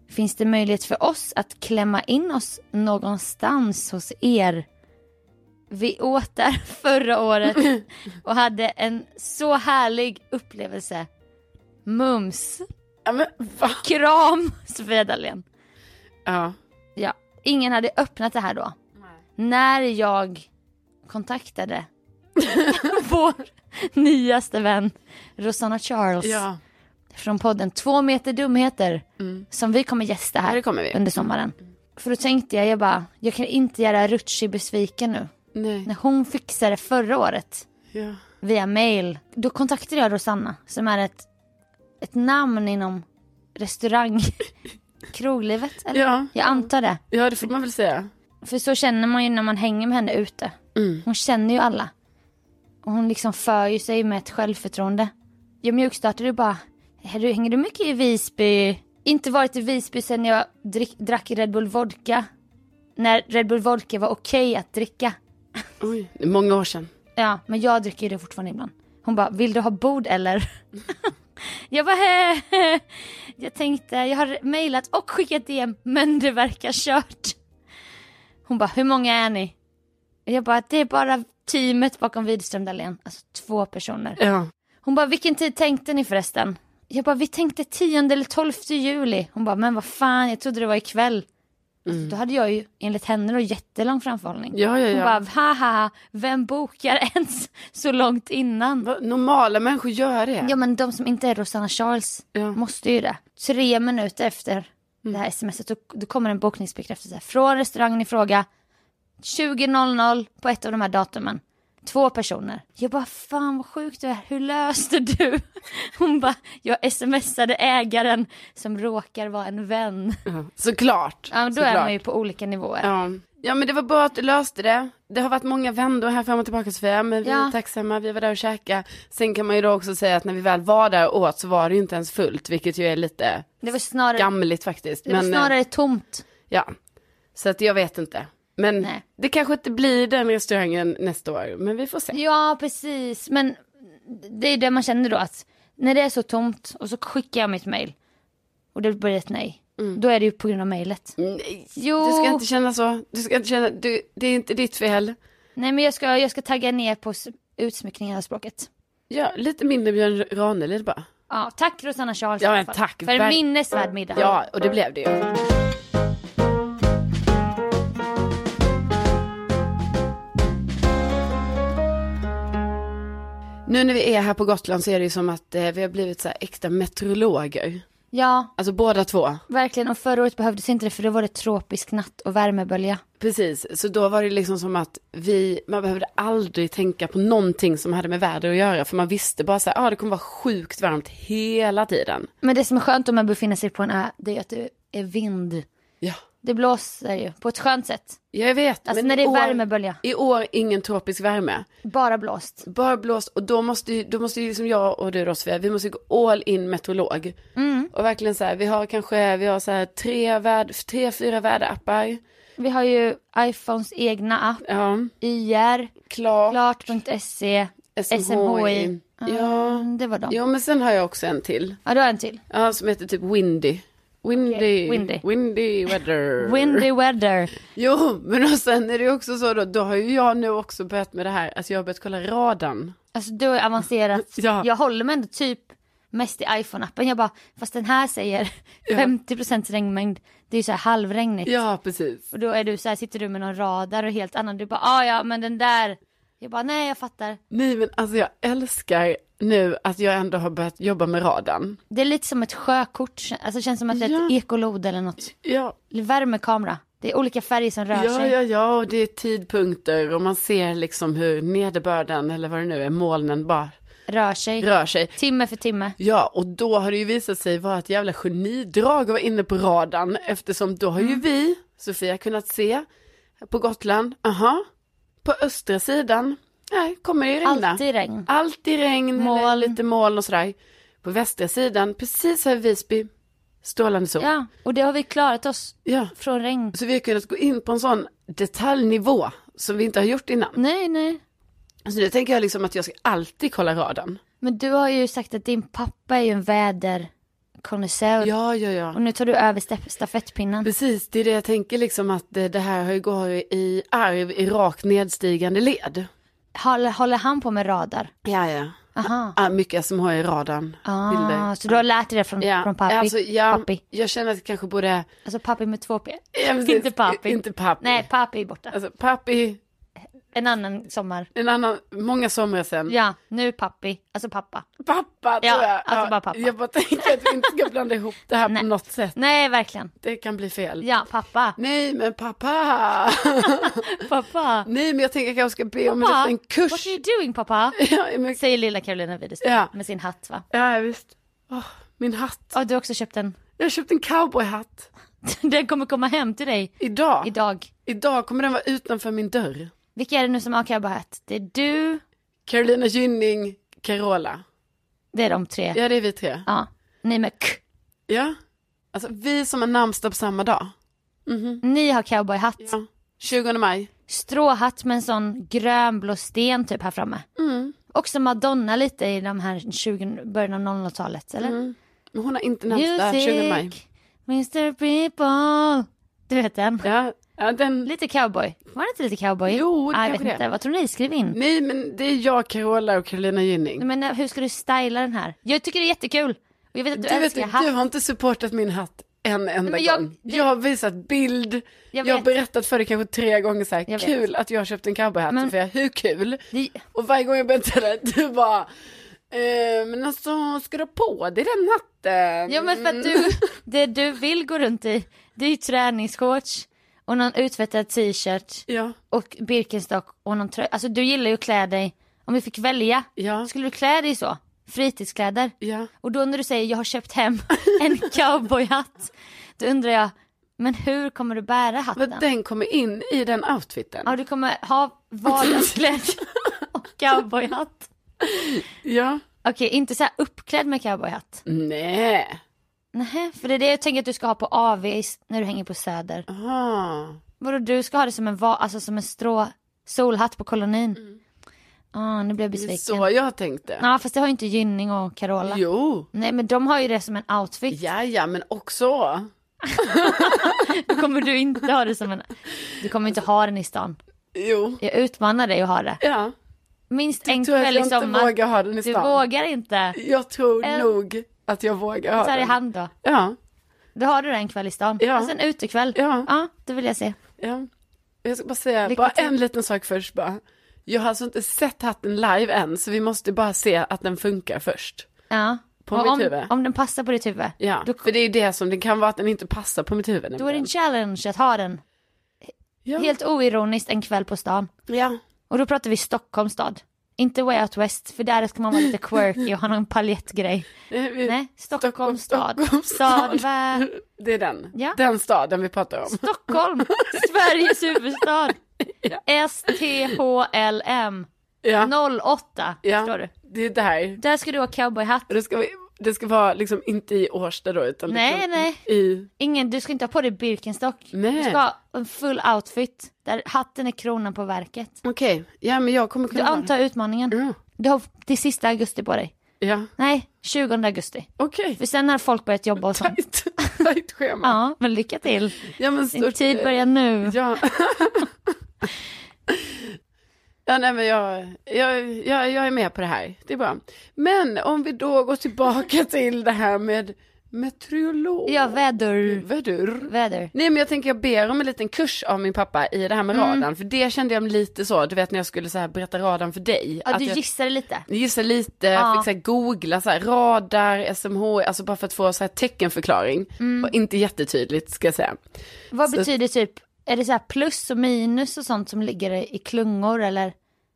[SPEAKER 2] Finns det möjlighet för oss att klämma in oss någonstans hos er? Vi åt där förra året och hade en så härlig upplevelse. Mums!
[SPEAKER 1] Ja, men va?
[SPEAKER 2] Kram Sofia Dalén.
[SPEAKER 1] Ja.
[SPEAKER 2] Ja, ingen hade öppnat det här då. När jag kontaktade vår nyaste vän Rosanna Charles
[SPEAKER 1] ja. Mm.
[SPEAKER 2] från podden Två meter dumheter som vi kommer gästa
[SPEAKER 1] Ja,
[SPEAKER 2] här
[SPEAKER 1] det kommer vi. Mm.
[SPEAKER 2] under sommaren. För då tänkte jag, jag bara, jag kan inte göra Rutschi besviken nu.
[SPEAKER 1] Nej.
[SPEAKER 2] När hon fixade förra året
[SPEAKER 1] Ja.
[SPEAKER 2] via mail, då kontaktade jag Rosanna som är ett, ett namn inom restaurang, kroglivet eller?
[SPEAKER 1] Ja.
[SPEAKER 2] Jag antar det.
[SPEAKER 1] ja, det får man väl säga.
[SPEAKER 2] För så känner man ju när man hänger med henne ute.
[SPEAKER 1] Mm.
[SPEAKER 2] Hon känner ju alla. Och hon liksom för ju sig med ett självförtroende. Jag mjukstartade ju bara. "Här, du, Hänger du mycket i Visby? Inte varit i Visby sen jag drick, drack Red Bull Vodka. När Red Bull Vodka var okej att dricka.
[SPEAKER 1] Oj, det är många år sedan.
[SPEAKER 2] Ja, men jag dricker ju det fortfarande ibland. Hon bara, vill du ha bord eller? jag bara, "Eh, Jag tänkte, jag har mejlat och skickat DM, men det verkar kört. Hon bara, hur många är ni? Jag bara, det är bara teamet bakom Widström Dahlén, alltså två personer.
[SPEAKER 1] Ja.
[SPEAKER 2] Hon bara, vilken tid tänkte ni förresten? Jag bara, vi tänkte 10 eller 12 juli. Hon bara, men vad fan, jag trodde det var ikväll. Alltså, då hade jag ju, enligt henne då, jättelång framförhållning.
[SPEAKER 1] Ja, ja,
[SPEAKER 2] Hon
[SPEAKER 1] ja.
[SPEAKER 2] bara, haha, vem bokar ens så långt innan?
[SPEAKER 1] Va? Normala människor gör det.
[SPEAKER 2] Ja men de som inte är Rosanna Charles
[SPEAKER 1] Ja.
[SPEAKER 2] måste ju det. Tre minuter efter det här smset då, då kommer en bokningsbekräftelse från restaurangen i fråga. 20.00 på ett av de här datumen. Två personer. Jag bara fan vad sjukt du är, hur löste du? Hon bara jag smsade ägaren som råkar vara en vän.
[SPEAKER 1] Ja, Såklart.
[SPEAKER 2] Ja, men då
[SPEAKER 1] Såklart.
[SPEAKER 2] är man ju på olika nivåer.
[SPEAKER 1] Ja. ja, men det var bra att du löste det. Det har varit många vändor här fram och tillbaka Sofia, men vi
[SPEAKER 2] Ja.
[SPEAKER 1] är tacksamma, vi var där och käkade. Sen kan man ju då också säga att när vi väl var där och åt så var det ju inte ens fullt, vilket ju är lite
[SPEAKER 2] Det var snarare,
[SPEAKER 1] skamligt faktiskt.
[SPEAKER 2] det var
[SPEAKER 1] eh,
[SPEAKER 2] snarare tomt.
[SPEAKER 1] Ja, så att jag vet inte. Men
[SPEAKER 2] Nej.
[SPEAKER 1] det kanske inte blir den restaurangen nästa år, men vi får se.
[SPEAKER 2] Ja, precis. Men det är det man känner då att när det är så tomt och så skickar jag mitt mail och det blir ett nej. Då är det ju på grund av mejlet.
[SPEAKER 1] Mm. Nej,
[SPEAKER 2] Jo,
[SPEAKER 1] Du ska inte känna så, du ska inte känna, du, det är inte ditt fel.
[SPEAKER 2] nej men jag ska, jag ska tagga ner på s- utsmyckningen av språket.
[SPEAKER 1] Ja, lite mindre Björn Ranelid bara.
[SPEAKER 2] Ja, tack Rosanna Charles
[SPEAKER 1] Ja,
[SPEAKER 2] i alla
[SPEAKER 1] men
[SPEAKER 2] fall,
[SPEAKER 1] tack.
[SPEAKER 2] för en
[SPEAKER 1] Ver-
[SPEAKER 2] minnesvärd middag.
[SPEAKER 1] Ja, och det blev det ju. Nu när vi är här på Gotland så är det ju som att eh, vi har blivit så här extra meteorologer.
[SPEAKER 2] ja,
[SPEAKER 1] Alltså båda två.
[SPEAKER 2] verkligen. Och förra året behövdes inte det för då var det tropisk natt och värmebölja.
[SPEAKER 1] Precis, så då var det liksom som att vi, man behövde aldrig tänka på någonting som hade med väder att göra. För man visste bara så här, ah, det kommer vara sjukt varmt hela tiden.
[SPEAKER 2] Men det som är skönt om man befinner sig på en ö, det är att det är vind.
[SPEAKER 1] Ja,
[SPEAKER 2] Det blåser ju på ett skönt sätt.
[SPEAKER 1] jag vet.
[SPEAKER 2] Alltså
[SPEAKER 1] men
[SPEAKER 2] när det
[SPEAKER 1] i
[SPEAKER 2] är
[SPEAKER 1] år-
[SPEAKER 2] värmebölja,
[SPEAKER 1] I år ingen tropisk värme.
[SPEAKER 2] bara blåst.
[SPEAKER 1] Bara blåst och då måste ju, då måste ju liksom jag och du då Sofia, vi måste gå all in meteorolog.
[SPEAKER 2] Mm.
[SPEAKER 1] Och verkligen så här, vi har kanske, vi har så här tre, värd, tre fyra väderappar.
[SPEAKER 2] Vi har ju iPhones egna app,
[SPEAKER 1] Ja,
[SPEAKER 2] IR,
[SPEAKER 1] klart,
[SPEAKER 2] klart.se, SMHI.
[SPEAKER 1] Ja.
[SPEAKER 2] Mm, Det var dem.
[SPEAKER 1] ja, men sen har jag också en till.
[SPEAKER 2] Ja, du har en till.
[SPEAKER 1] Ja, som heter typ Windy. Windy,
[SPEAKER 2] Okej, windy.
[SPEAKER 1] windy weather.
[SPEAKER 2] Windy weather.
[SPEAKER 1] Jo, men och sen är det ju också så då, då har ju jag nu också börjat med det här, alltså jag har börjat kolla radarn.
[SPEAKER 2] Alltså du har ju avancerat.
[SPEAKER 1] Ja.
[SPEAKER 2] Jag håller mig ändå typ mest i iPhone-appen. Jag bara, fast den här säger 50% regnmängd. Det är ju så här halvregnigt.
[SPEAKER 1] Ja, precis.
[SPEAKER 2] Och då är du så här, sitter du med någon radar och helt annan. Du bara, ah, ja men den där. Jag bara, nej jag fattar.
[SPEAKER 1] Nej, men alltså jag älskar nu att jag ändå har börjat jobba med radarn.
[SPEAKER 2] Det är lite som ett sjökort. Alltså det känns som att det är ett
[SPEAKER 1] Ja.
[SPEAKER 2] ekolod eller något.
[SPEAKER 1] Ja,
[SPEAKER 2] Eller Värmekamera. Det är olika färger som rör
[SPEAKER 1] ja,
[SPEAKER 2] sig.
[SPEAKER 1] ja, ja, och det är tidpunkter och man ser liksom hur nederbörden eller vad det nu är, molnen bara
[SPEAKER 2] Rör sig.
[SPEAKER 1] rör sig.
[SPEAKER 2] Timme för timme.
[SPEAKER 1] Ja, och då har det ju visat sig vara ett jävla genidrag att vara inne på radarn eftersom då har ju vi, Sofia, kunnat se på Gotland, aha, på östra sidan, nej, kommer det ju regna.
[SPEAKER 2] Alltid
[SPEAKER 1] Mm.
[SPEAKER 2] regn.
[SPEAKER 1] Alltid regn, moln.
[SPEAKER 2] Moln.
[SPEAKER 1] lite moln och sådär. På västra sidan, precis här i Visby, strålande sol.
[SPEAKER 2] Ja, och det har vi klarat oss
[SPEAKER 1] Ja.
[SPEAKER 2] från regn.
[SPEAKER 1] Alltså. Så vi har kunnat gå in på en sån detaljnivå som vi inte har gjort innan.
[SPEAKER 2] Nej, nej.
[SPEAKER 1] Så nu tänker jag liksom att jag ska alltid kolla radarn.
[SPEAKER 2] Men du har ju sagt att din pappa är ju en väderkonnässör.
[SPEAKER 1] Ja, ja, ja.
[SPEAKER 2] Och nu tar du över sta- stafettpinnen.
[SPEAKER 1] Mm. Precis, det är det jag tänker liksom att det, det här har ju går i arv i rakt nedstigande led.
[SPEAKER 2] Håller, håller han på med radar?
[SPEAKER 1] Ja, ja.
[SPEAKER 2] Aha.
[SPEAKER 1] Ah, mycket som har i radarn.
[SPEAKER 2] Ah,
[SPEAKER 1] bilder.
[SPEAKER 2] så du har lärt dig det från,
[SPEAKER 1] ja.
[SPEAKER 2] från pappi?
[SPEAKER 1] Alltså, ja,
[SPEAKER 2] pappi?
[SPEAKER 1] Jag känner att jag kanske borde...
[SPEAKER 2] Alltså pappi med två p.
[SPEAKER 1] Ja, precis.
[SPEAKER 2] Inte pappi.
[SPEAKER 1] Inte pappi.
[SPEAKER 2] Nej, pappi är borta.
[SPEAKER 1] Alltså, pappi,
[SPEAKER 2] En annan sommar.
[SPEAKER 1] en annan, många somrar sen.
[SPEAKER 2] Ja, nu pappi. Alltså pappa.
[SPEAKER 1] Pappa
[SPEAKER 2] Ja,
[SPEAKER 1] tror jag.
[SPEAKER 2] alltså bara pappa.
[SPEAKER 1] Jag bara tänker att vi inte ska blanda ihop det här
[SPEAKER 2] Nej.
[SPEAKER 1] på något sätt.
[SPEAKER 2] Nej, verkligen.
[SPEAKER 1] Det kan bli fel.
[SPEAKER 2] Ja, pappa.
[SPEAKER 1] Nej men pappa.
[SPEAKER 2] Pappa.
[SPEAKER 1] Nej men jag tänker att jag ska be om en
[SPEAKER 2] Pappa,
[SPEAKER 1] liten
[SPEAKER 2] What
[SPEAKER 1] kurs.
[SPEAKER 2] are you doing pappa?
[SPEAKER 1] Ja, men...
[SPEAKER 2] Säger lilla Carolina Widerström
[SPEAKER 1] Ja.
[SPEAKER 2] med sin hatt va?
[SPEAKER 1] ja visst. Åh, min hatt.
[SPEAKER 2] Ja, du har också köpt en.
[SPEAKER 1] Jag har köpt en cowboyhatt.
[SPEAKER 2] Den kommer komma hem till dig
[SPEAKER 1] Idag.
[SPEAKER 2] idag.
[SPEAKER 1] Idag kommer den vara utanför min dörr.
[SPEAKER 2] Vilka är det nu som har cowboyhatt? Det är du,
[SPEAKER 1] Carolina Gynning, Carola.
[SPEAKER 2] det är de tre.
[SPEAKER 1] Ja det är vi tre.
[SPEAKER 2] Ja, ni med k.
[SPEAKER 1] Ja. Alltså vi som har namnsdag på samma dag.
[SPEAKER 2] Ni har cowboyhatt.
[SPEAKER 1] Ja. 20 maj.
[SPEAKER 2] Stråhatt med en sån grönblå sten typ här framme.
[SPEAKER 1] Mm.
[SPEAKER 2] Också Madonna lite i de här 20, början av 00-talet eller?
[SPEAKER 1] Men hon har inte namnsdag 20 Mm, maj.
[SPEAKER 2] Mr People. Du vet den.
[SPEAKER 1] Ja, ja den...
[SPEAKER 2] Lite cowboy. Var det inte lite cowboy?
[SPEAKER 1] Jo, det
[SPEAKER 2] ah, jag vet
[SPEAKER 1] kanske
[SPEAKER 2] inte.
[SPEAKER 1] det.
[SPEAKER 2] Vad tror ni? Skriv in.
[SPEAKER 1] Nej men det är jag, Carola och Carolina Gynning.
[SPEAKER 2] Nej, Men eh, hur ska du styla den här? Jag tycker det är jättekul. Och jag vet att du,
[SPEAKER 1] Du, vet,
[SPEAKER 2] älskar
[SPEAKER 1] att
[SPEAKER 2] hatt.
[SPEAKER 1] du har inte supportat min hatt en enda
[SPEAKER 2] men jag-
[SPEAKER 1] gång.
[SPEAKER 2] det-
[SPEAKER 1] Jag har visat bild, jag, har
[SPEAKER 2] vet.
[SPEAKER 1] berättat för dig kanske tre gånger så här,
[SPEAKER 2] Jag vet.
[SPEAKER 1] kul att jag har köpt en cowboyhatt
[SPEAKER 2] Men-
[SPEAKER 1] Sofia, hur kul?
[SPEAKER 2] Det-
[SPEAKER 1] Och varje gång jag berättade det, du bara, eh, men alltså ska du ha på dig den hatten?
[SPEAKER 2] Ja men för att du, det du vill gå runt i, det är ju träningsshorts och någon utvättad t-shirt
[SPEAKER 1] Ja,
[SPEAKER 2] och Birkenstock och någon tröja. Alltså du gillar ju att klä dig, om vi fick välja,
[SPEAKER 1] Ja.
[SPEAKER 2] skulle du klä dig så? Fritidskläder.
[SPEAKER 1] ja.
[SPEAKER 2] Och då när du säger jag har köpt hem en cowboyhatt, då undrar jag, men hur kommer du bära
[SPEAKER 1] För
[SPEAKER 2] hatten?
[SPEAKER 1] den kommer in i den outfiten.
[SPEAKER 2] Ja du kommer ha vardagskläder och cowboyhatt.
[SPEAKER 1] Ja.
[SPEAKER 2] Okej, inte så här uppklädd med cowboyhatt.
[SPEAKER 1] Nej.
[SPEAKER 2] Nej, för det är det jag tänker att du ska ha på AV när du hänger på Söder.
[SPEAKER 1] Aha.
[SPEAKER 2] Vadå du ska ha det som en, va- alltså, som en strå solhatt på kolonin? Ah, nu
[SPEAKER 1] Mm.
[SPEAKER 2] blev jag
[SPEAKER 1] Det är
[SPEAKER 2] besviken.
[SPEAKER 1] så jag tänkte.
[SPEAKER 2] Ja fast det har ju inte Gynning och Carola.
[SPEAKER 1] Jo.
[SPEAKER 2] Nej men de har ju det som en outfit.
[SPEAKER 1] Ja, ja, men också.
[SPEAKER 2] Då kommer du inte ha det som en... Du kommer inte ha den i stan.
[SPEAKER 1] Jo.
[SPEAKER 2] Jag utmanar dig att ha det.
[SPEAKER 1] Ja.
[SPEAKER 2] Minst en
[SPEAKER 1] tror att
[SPEAKER 2] kväll
[SPEAKER 1] jag
[SPEAKER 2] i
[SPEAKER 1] inte
[SPEAKER 2] sommar.
[SPEAKER 1] vågar ha den i
[SPEAKER 2] liksom du
[SPEAKER 1] stan.
[SPEAKER 2] vågar inte.
[SPEAKER 1] Jag tror
[SPEAKER 2] Eller-
[SPEAKER 1] nog att jag vågar ha
[SPEAKER 2] Så här i
[SPEAKER 1] den.
[SPEAKER 2] hand då.
[SPEAKER 1] Ja,
[SPEAKER 2] Då har du det en kväll i stan.
[SPEAKER 1] Ja.
[SPEAKER 2] Och sen utekväll.
[SPEAKER 1] Ja.
[SPEAKER 2] ja, det vill jag se.
[SPEAKER 1] ja. Jag ska bara säga,
[SPEAKER 2] Lycka
[SPEAKER 1] bara
[SPEAKER 2] till.
[SPEAKER 1] en liten sak först bara. Jag har alltså inte sett hatten live än, så vi måste bara se att den funkar först.
[SPEAKER 2] Ja.
[SPEAKER 1] På
[SPEAKER 2] Och
[SPEAKER 1] mitt
[SPEAKER 2] om,
[SPEAKER 1] huvud.
[SPEAKER 2] om den passar på ditt huvud.
[SPEAKER 1] Ja,
[SPEAKER 2] Då,
[SPEAKER 1] för det är ju det som, det kan vara att den inte passar på mitt huvud.
[SPEAKER 2] då är det en
[SPEAKER 1] nämligen.
[SPEAKER 2] challenge att ha den.
[SPEAKER 1] ja.
[SPEAKER 2] Helt oironiskt en kväll på stan.
[SPEAKER 1] Ja.
[SPEAKER 2] Och då pratar vi Stockholms stad. Inte Way Out West, för där ska man vara lite quirky och ha någon paljettgrej.
[SPEAKER 1] Nej, Eh, vi-
[SPEAKER 2] Nej, Stockholms stad.
[SPEAKER 1] Stockholms
[SPEAKER 2] Stad,
[SPEAKER 1] stad.
[SPEAKER 2] va?
[SPEAKER 1] Det är den.
[SPEAKER 2] Ja.
[SPEAKER 1] Den staden vi pratar om.
[SPEAKER 2] Stockholm, Sveriges huvudstad. S-T-H-L-M.
[SPEAKER 1] Ja.
[SPEAKER 2] 08, förstår
[SPEAKER 1] ja.
[SPEAKER 2] du?
[SPEAKER 1] Det är där.
[SPEAKER 2] Där ska du ha cowboyhatt.
[SPEAKER 1] Och det ska, vi, det ska vara liksom inte i Årsta då, utan
[SPEAKER 2] Nej,
[SPEAKER 1] liksom
[SPEAKER 2] nej.
[SPEAKER 1] i...
[SPEAKER 2] Ingen, du ska inte ha på dig Birkenstock. Du
[SPEAKER 1] Nej.
[SPEAKER 2] ska ha en full outfit där hatten är kronan på verket.
[SPEAKER 1] Okej, ja men jag kommer
[SPEAKER 2] Du
[SPEAKER 1] kunna...
[SPEAKER 2] antar utmaningen.
[SPEAKER 1] Ja,
[SPEAKER 2] Du har till sista augusti på dig.
[SPEAKER 1] ja.
[SPEAKER 2] Nej, 20 augusti.
[SPEAKER 1] okej.
[SPEAKER 2] För sen har folk börjat jobba och sånt.
[SPEAKER 1] Tajt. tajt schema.
[SPEAKER 2] Ja, men lycka till.
[SPEAKER 1] Ja, men
[SPEAKER 2] Din
[SPEAKER 1] stort- eh,
[SPEAKER 2] tid börjar nu.
[SPEAKER 1] Ja. ja, nej men jag, jag, jag, jag är med på det här. Det är bra. Men om vi då går tillbaka till det här med meteorolog.
[SPEAKER 2] Ja,
[SPEAKER 1] Mm.
[SPEAKER 2] väder.
[SPEAKER 1] Vädur.
[SPEAKER 2] Väder.
[SPEAKER 1] Nej men jag tänker jag ber om en liten kurs av min pappa i det här
[SPEAKER 2] Mm.
[SPEAKER 1] med radarn. För det kände jag mig lite så, du vet när jag skulle så här berätta radarn för dig.
[SPEAKER 2] Ja,
[SPEAKER 1] att
[SPEAKER 2] du
[SPEAKER 1] jag,
[SPEAKER 2] gissade lite.
[SPEAKER 1] Gissa lite,
[SPEAKER 2] Ja.
[SPEAKER 1] fick så här googla så här, radar, SMH, alltså bara för att få så här teckenförklaring.
[SPEAKER 2] Mm.
[SPEAKER 1] Var inte jättetydligt ska jag säga.
[SPEAKER 2] Vad
[SPEAKER 1] Så-
[SPEAKER 2] betyder typ, är det så här plus och minus och sånt som ligger i klungor eller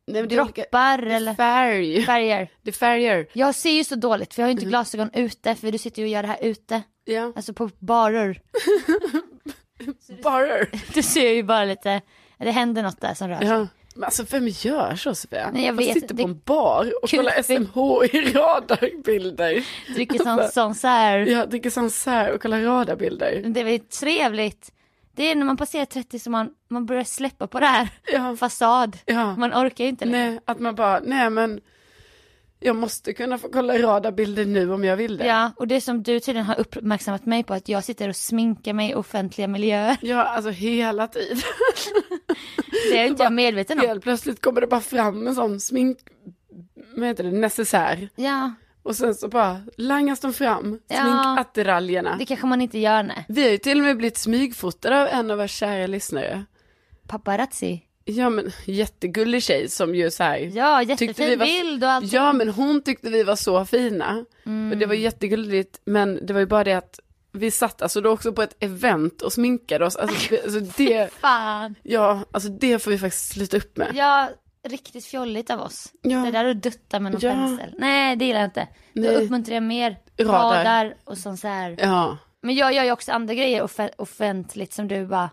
[SPEAKER 1] Nej, men det är olika-
[SPEAKER 2] droppar
[SPEAKER 1] det är
[SPEAKER 2] eller
[SPEAKER 1] färg.
[SPEAKER 2] färger?
[SPEAKER 1] Det är färger.
[SPEAKER 2] Jag ser ju så dåligt för jag har ju
[SPEAKER 1] Mm.
[SPEAKER 2] inte glasögon ute för du sitter ju och gör det här ute.
[SPEAKER 1] Ja.
[SPEAKER 2] Alltså på barer.
[SPEAKER 1] Barer.
[SPEAKER 2] Du ser ju bara lite, det händer något där som rör sig.
[SPEAKER 1] Ja. Men alltså vem gör så Sofia?
[SPEAKER 2] Nej, jag
[SPEAKER 1] Man
[SPEAKER 2] vet,
[SPEAKER 1] sitter
[SPEAKER 2] det-
[SPEAKER 1] på en bar och
[SPEAKER 2] Kul-
[SPEAKER 1] kollar SMH i radarbilder.
[SPEAKER 2] Dricker sån, sån så här.
[SPEAKER 1] Jag dricker sansär och kollar radarbilder.
[SPEAKER 2] Det är väl trevligt. Det är när man passerar 30 som man, man börjar släppa på det här.
[SPEAKER 1] Ja.
[SPEAKER 2] Fasad.
[SPEAKER 1] Ja.
[SPEAKER 2] Man orkar ju inte längre.
[SPEAKER 1] Nej, att man bara, nej men jag måste kunna få kolla radarbilder nu om jag vill det.
[SPEAKER 2] Ja, och det som du tydligen har uppmärksammat mig på att jag sitter och sminkar mig i offentliga miljöer.
[SPEAKER 1] Ja, alltså hela tiden.
[SPEAKER 2] Det är inte jag medveten om.
[SPEAKER 1] Helt plötsligt kommer det bara fram en sån smink, vad heter det, necessär.
[SPEAKER 2] Ja,
[SPEAKER 1] Och sen så bara langas de fram,
[SPEAKER 2] Ja.
[SPEAKER 1] sminkattiraljerna.
[SPEAKER 2] det kanske man inte gör nej.
[SPEAKER 1] Vi har ju till och med blivit smygfotade av en av våra kära lyssnare.
[SPEAKER 2] Paparazzi.
[SPEAKER 1] Ja men jättegullig tjej som ju så här.
[SPEAKER 2] Ja,
[SPEAKER 1] tyckte vi
[SPEAKER 2] jättefin
[SPEAKER 1] var-
[SPEAKER 2] bild och allt. Mm.
[SPEAKER 1] Ja men hon tyckte vi var så fina. Och det var jättegulligt men det var ju bara det att vi satt alltså då också på ett event och sminkade oss. Alltså, det- alltså, det,
[SPEAKER 2] Fan.
[SPEAKER 1] ja, alltså det får vi faktiskt sluta upp med.
[SPEAKER 2] Ja, riktigt fjolligt av oss.
[SPEAKER 1] Ja.
[SPEAKER 2] Det där att dutta med någon
[SPEAKER 1] Ja.
[SPEAKER 2] pensel. Nej, det gillar jag inte. Då
[SPEAKER 1] Nej.
[SPEAKER 2] uppmuntrar jag mer
[SPEAKER 1] Radar.
[SPEAKER 2] radar, och sånt så här.
[SPEAKER 1] Ja.
[SPEAKER 2] Men jag gör ju också andra grejer off- offentligt som du bara,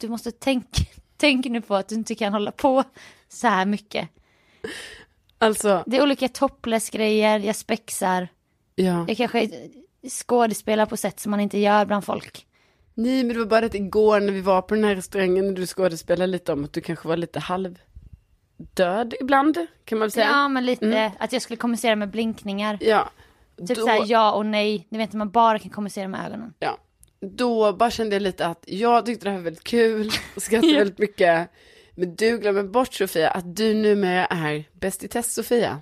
[SPEAKER 2] du måste tänka, tänk nu på att du inte kan hålla på så här mycket.
[SPEAKER 1] Alltså,
[SPEAKER 2] Det är olika topless-grejer, jag spexar,
[SPEAKER 1] ja.
[SPEAKER 2] jag kanske skådespelar på sätt som man inte gör bland folk.
[SPEAKER 1] Nej men det var bara det att igår när vi var på den här restaurangen när du skådespelade lite om att du kanske var lite halv död ibland kan man väl säga.
[SPEAKER 2] Ja, men lite att jag skulle kommunicera med blinkningar.
[SPEAKER 1] ja.
[SPEAKER 2] Typ
[SPEAKER 1] Mm. Då-
[SPEAKER 2] så här ja och nej, ni vet när man bara kan kommunicera med ögonen.
[SPEAKER 1] Ja. Då bara kände jag lite att jag tyckte det här var väldigt kul och skrattade väldigt mycket. Men du glömmer bort Sofia att du numera är bäst i test Sofia.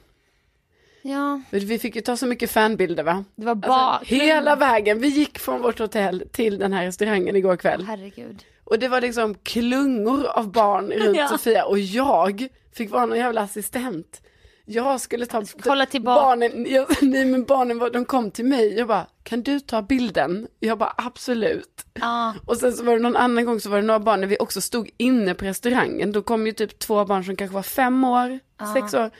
[SPEAKER 2] Ja,
[SPEAKER 1] För Vi fick ju ta så mycket fanbilder va?
[SPEAKER 2] det var bara...
[SPEAKER 1] Alltså, hela vägen, vi gick från vårt hotell till den här restaurangen igår kväll.
[SPEAKER 2] Herregud.
[SPEAKER 1] Och det var liksom klungor av barn runt
[SPEAKER 2] Ja.
[SPEAKER 1] Sofia och jag fick vara någon jävla assistent. Jag skulle ta
[SPEAKER 2] Kolla tillbaka.
[SPEAKER 1] barnen, jag, nej men barnen var, de kom till mig, jag bara, kan du ta bilden? Jag bara, absolut.
[SPEAKER 2] Ja,
[SPEAKER 1] Och sen så var det någon annan gång så var det några barn när vi också stod inne på restaurangen. Då kom ju typ två barn som kanske var fem år, sex år.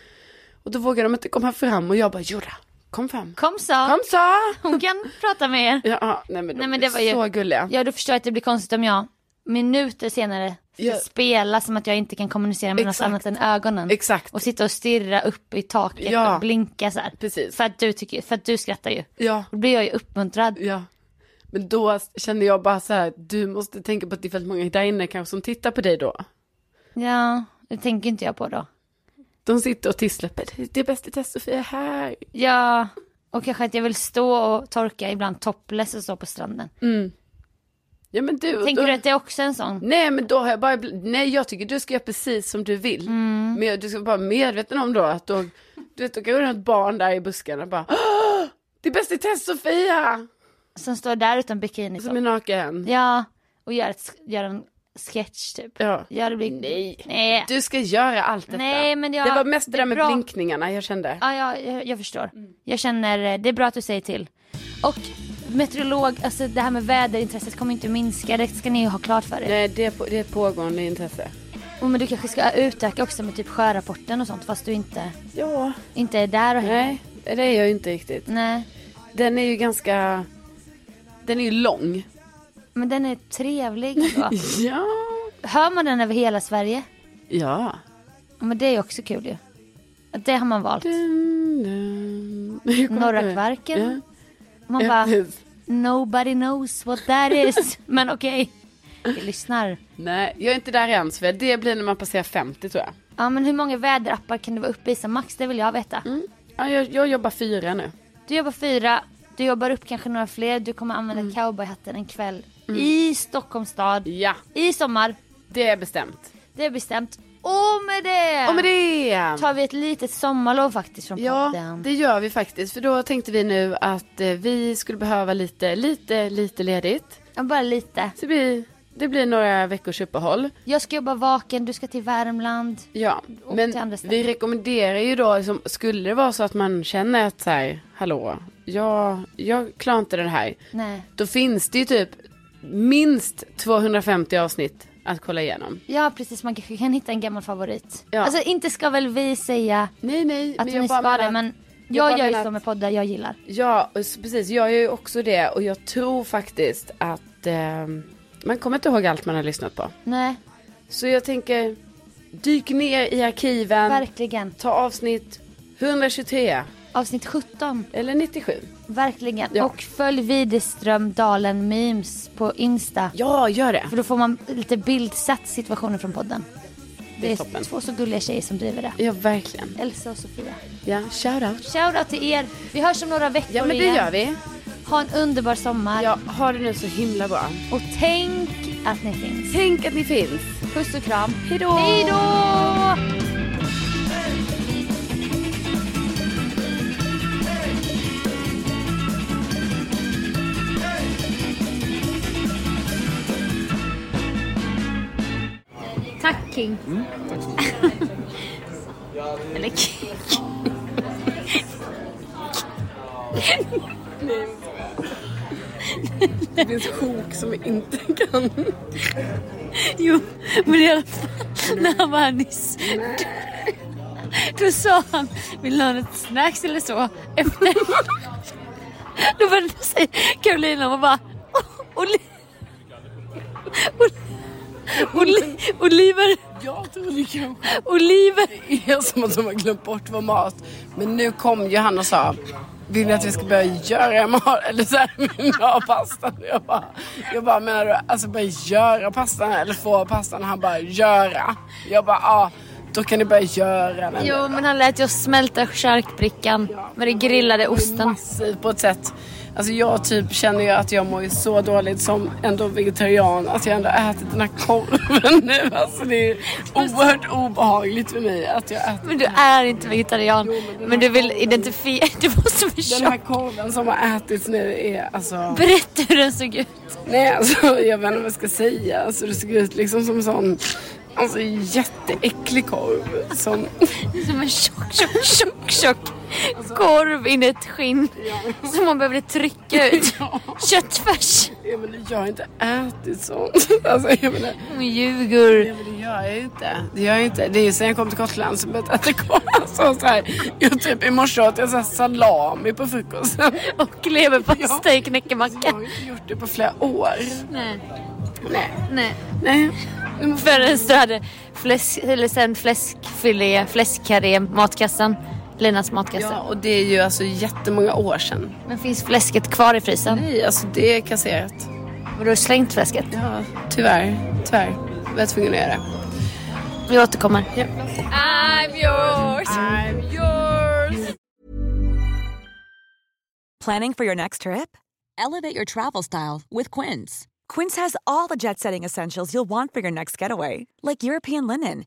[SPEAKER 1] Och då vågade de inte komma fram och jag bara, jodå, kom fram.
[SPEAKER 2] kom så.
[SPEAKER 1] Kom så!
[SPEAKER 2] Hon kan prata med er.
[SPEAKER 1] Ja, Ja, nej men de
[SPEAKER 2] Nej, men
[SPEAKER 1] är
[SPEAKER 2] det var ju-
[SPEAKER 1] så gulliga.
[SPEAKER 2] Ja, då förstår jag att det blir konstigt om jag minuter senare ska
[SPEAKER 1] Ja.
[SPEAKER 2] spela som att jag inte kan kommunicera med
[SPEAKER 1] Exakt.
[SPEAKER 2] något annat än ögonen.
[SPEAKER 1] Exakt.
[SPEAKER 2] Och sitta och stirra upp i taket
[SPEAKER 1] Ja.
[SPEAKER 2] och blinka så här.
[SPEAKER 1] Precis.
[SPEAKER 2] För att du, tycker, för att du skrattar ju.
[SPEAKER 1] Ja,
[SPEAKER 2] Då blir jag ju uppmuntrad.
[SPEAKER 1] ja. Men då kände jag bara så här, du måste tänka på att det är väldigt många där inne kanske som tittar på dig då.
[SPEAKER 2] Ja, det tänker inte jag på då.
[SPEAKER 1] De sitter och tisslar på dig, det är bäst i test Sofia här.
[SPEAKER 2] Ja, och kanske att jag vill stå och torka ibland topless och så på stranden.
[SPEAKER 1] Mm. Ja men du, och
[SPEAKER 2] Tänker
[SPEAKER 1] då-
[SPEAKER 2] du att det är också en sån?
[SPEAKER 1] Nej men då har jag bara, bl- nej jag tycker du ska göra precis som du vill.
[SPEAKER 2] Mm.
[SPEAKER 1] Men du ska vara medveten om då att då, du vet då kan det vara ett barn där i buskarna och bara "Åh, Det är bäst i test Sofia!
[SPEAKER 2] Som står där utan bikini.
[SPEAKER 1] Som är naken.
[SPEAKER 2] Ja, och gör, ett, gör en sketch typ.
[SPEAKER 1] Ja.
[SPEAKER 2] Ja, det blir...
[SPEAKER 1] Nej.
[SPEAKER 2] Nej.
[SPEAKER 1] Du ska göra allt detta.
[SPEAKER 2] Nej, men jag-
[SPEAKER 1] det var mest det
[SPEAKER 2] det
[SPEAKER 1] där
[SPEAKER 2] är
[SPEAKER 1] med
[SPEAKER 2] bra.
[SPEAKER 1] blinkningarna jag kände.
[SPEAKER 2] Ja, ja, jag, jag förstår.
[SPEAKER 1] Mm.
[SPEAKER 2] Jag känner, eh, det är bra att du säger till. Och meteorolog, alltså det här med väderintresset kommer inte minska, det ska ni ju ha klart för er.
[SPEAKER 1] Nej det är, på, det är ett pågående intresse.
[SPEAKER 2] Och men du kanske ska utöka också med typ sjörapporten och sånt fast du inte,
[SPEAKER 1] Ja.
[SPEAKER 2] inte är där och hänger.
[SPEAKER 1] Nej det är jag ju inte riktigt.
[SPEAKER 2] Nej.
[SPEAKER 1] Den är ju ganska, den är ju lång.
[SPEAKER 2] Men den är trevlig ändå.
[SPEAKER 1] Ja.
[SPEAKER 2] Hör man den över hela Sverige?
[SPEAKER 1] Ja.
[SPEAKER 2] Ja, Men det är ju också kul ju. Att Det har man valt.
[SPEAKER 1] Dun, dun. Jag kommer
[SPEAKER 2] Norra
[SPEAKER 1] inte ihåg.
[SPEAKER 2] Kvarken. Man
[SPEAKER 1] Ja,
[SPEAKER 2] bara,
[SPEAKER 1] precis.
[SPEAKER 2] nobody knows what that is. Men okej, vi lyssnar.
[SPEAKER 1] Nej, jag är inte där än Sofia. Det blir när man passerar 50 tror jag.
[SPEAKER 2] Ja men hur många
[SPEAKER 1] Mm.
[SPEAKER 2] väderappar kan du vara uppe i som max? Det vill jag veta.
[SPEAKER 1] Ja, jag, jag jobbar fyra nu.
[SPEAKER 2] Du jobbar fyra Du jobbar upp kanske några fler. Du kommer använda
[SPEAKER 1] Mm.
[SPEAKER 2] cowboyhatten en kväll i Stockholms stad
[SPEAKER 1] Ja,
[SPEAKER 2] i sommar.
[SPEAKER 1] det är bestämt.
[SPEAKER 2] Det är bestämt. Och med det,
[SPEAKER 1] Och med det!
[SPEAKER 2] tar vi ett litet sommarlov faktiskt från
[SPEAKER 1] Ja,
[SPEAKER 2] podden.
[SPEAKER 1] det gör vi faktiskt. För då tänkte vi nu att eh, vi skulle behöva lite, lite, lite ledigt.
[SPEAKER 2] Ja, bara lite.
[SPEAKER 1] Så det blir, det blir några veckors uppehåll.
[SPEAKER 2] Jag ska jobba vaken, du ska till Värmland.
[SPEAKER 1] Ja,
[SPEAKER 2] Och till
[SPEAKER 1] men
[SPEAKER 2] andra ställen.
[SPEAKER 1] vi rekommenderar ju då, liksom, skulle det vara så att man känner att så här, hallå, jag, jag klarar inte det här.
[SPEAKER 2] Nej.
[SPEAKER 1] Då finns det ju typ minst 250 avsnitt att kolla igenom.
[SPEAKER 2] Ja precis, man kanske kan hitta en gammal favorit.
[SPEAKER 1] Ja.
[SPEAKER 2] Alltså inte ska väl vi säga
[SPEAKER 1] Nej, nej,
[SPEAKER 2] att ni
[SPEAKER 1] bara
[SPEAKER 2] ska det
[SPEAKER 1] menar-
[SPEAKER 2] men
[SPEAKER 1] jag bara
[SPEAKER 2] jag, gör
[SPEAKER 1] menar
[SPEAKER 2] ju så
[SPEAKER 1] att-
[SPEAKER 2] med poddar jag gillar.
[SPEAKER 1] Ja, och s- precis. Jag gör ju också det och jag tror faktiskt att eh, man kommer inte ihåg allt man har lyssnat på.
[SPEAKER 2] Nej,
[SPEAKER 1] Så jag tänker, dyk ner i arkiven,
[SPEAKER 2] verkligen.
[SPEAKER 1] ta avsnitt 123
[SPEAKER 2] Avsnitt 17,
[SPEAKER 1] eller 97.
[SPEAKER 2] verkligen.
[SPEAKER 1] Ja.
[SPEAKER 2] Och följ Widerström Dalen Memes på Insta.
[SPEAKER 1] Ja, gör det.
[SPEAKER 2] För då får man lite bildsatt situationer från podden. Det är
[SPEAKER 1] toppen.
[SPEAKER 2] två så gulliga tjejer som driver det.
[SPEAKER 1] Ja, verkligen.
[SPEAKER 2] Elsa och Sofia.
[SPEAKER 1] Ja, shoutout.
[SPEAKER 2] Shoutout till er. Vi hörs om några veckor
[SPEAKER 1] Ja, men det
[SPEAKER 2] igen.
[SPEAKER 1] gör vi.
[SPEAKER 2] Ha en underbar sommar.
[SPEAKER 1] Ja, ha det nu så himla bra.
[SPEAKER 2] Och tänk att ni finns.
[SPEAKER 1] Tänk att ni finns.
[SPEAKER 2] Puss och kram.
[SPEAKER 1] Hejdå!
[SPEAKER 2] Hej då!
[SPEAKER 5] Tack King. Eller King.
[SPEAKER 3] Det finns sjok som vi inte kan.
[SPEAKER 5] Jo, men i alla fall när han var här nyss. Då, då sa han, vill ni ha något snacks eller så? Efter. Då var det sig Carolina och bara, "Åh, Oli- Oli- Oli- Oliver,
[SPEAKER 3] Jag tror det kanske
[SPEAKER 5] Oliver.
[SPEAKER 3] är som att de har glömt bort vår mat. Men nu kom ju han och sa vill ni att vi ska börja göra mat? Eller så här, vill ni ha pastan? Jag bara, jag bara, menar du alltså börja göra pastan eller få pastan? Han bara, göra. Jag bara, ja, då kan ni börja göra den.
[SPEAKER 5] Jo, men han lät ju oss smälta charkbrickan med den grillade
[SPEAKER 3] Det är
[SPEAKER 5] osten.
[SPEAKER 3] massivt på ett sätt. Alltså jag typ känner ju att jag mår ju så dåligt som ändå vegetarian att jag ändå har ätit den här korven nu. Alltså det är oerhört obehagligt för mig att jag äter
[SPEAKER 5] Men du är inte vegetarian. Men du vill identifiera... Du måste
[SPEAKER 3] den här
[SPEAKER 5] försöka.
[SPEAKER 3] korven som har ätits nu är alltså...
[SPEAKER 5] Berätta hur den såg ut.
[SPEAKER 3] Nej alltså jag vet inte vad jag ska säga. Alltså det såg ut liksom som en sån alltså, jätteäcklig korv. Som,
[SPEAKER 5] Som en tjock, tjock, tjock, tjock Alltså. korv in i ett skinn. Som man behövde trycka ut. Köttfärs.
[SPEAKER 3] jag, menar, jag har inte ätit sånt. Alltså, jag menar,
[SPEAKER 5] Hon ljuger.
[SPEAKER 3] Ja, men det gör jag ju inte. Det gör jag ju inte. Det är ju sen jag kom till Gotland som jag äter korv. Alltså, så här, jag typ i morse åt jag så här salami på frukosten.
[SPEAKER 5] Och leverpastej i knäckemacka.
[SPEAKER 3] Jag har ju inte gjort det på flera år.
[SPEAKER 5] Nej.
[SPEAKER 3] Nej.
[SPEAKER 5] Nej.
[SPEAKER 3] Nej.
[SPEAKER 5] Förrän du hade fläsk, eller sen fläskfilé, fläskkarré, matkassan. Linas matkassa.
[SPEAKER 3] Ja, och det är ju alltså jättemånga år sedan.
[SPEAKER 5] Men finns fläsket kvar i frysen?
[SPEAKER 3] Nej, alltså det är kasserat.
[SPEAKER 5] Har du slängt fläsket?
[SPEAKER 3] Ja, tyvärr. Tyvärr. Jag var tvungen att göra det.
[SPEAKER 5] Vi återkommer.
[SPEAKER 3] I'm yours! I'm yours!
[SPEAKER 6] Planning for your next trip? Elevate your travel style with Quince. Quince has all the jet setting essentials you'll want for your next getaway, like European linen,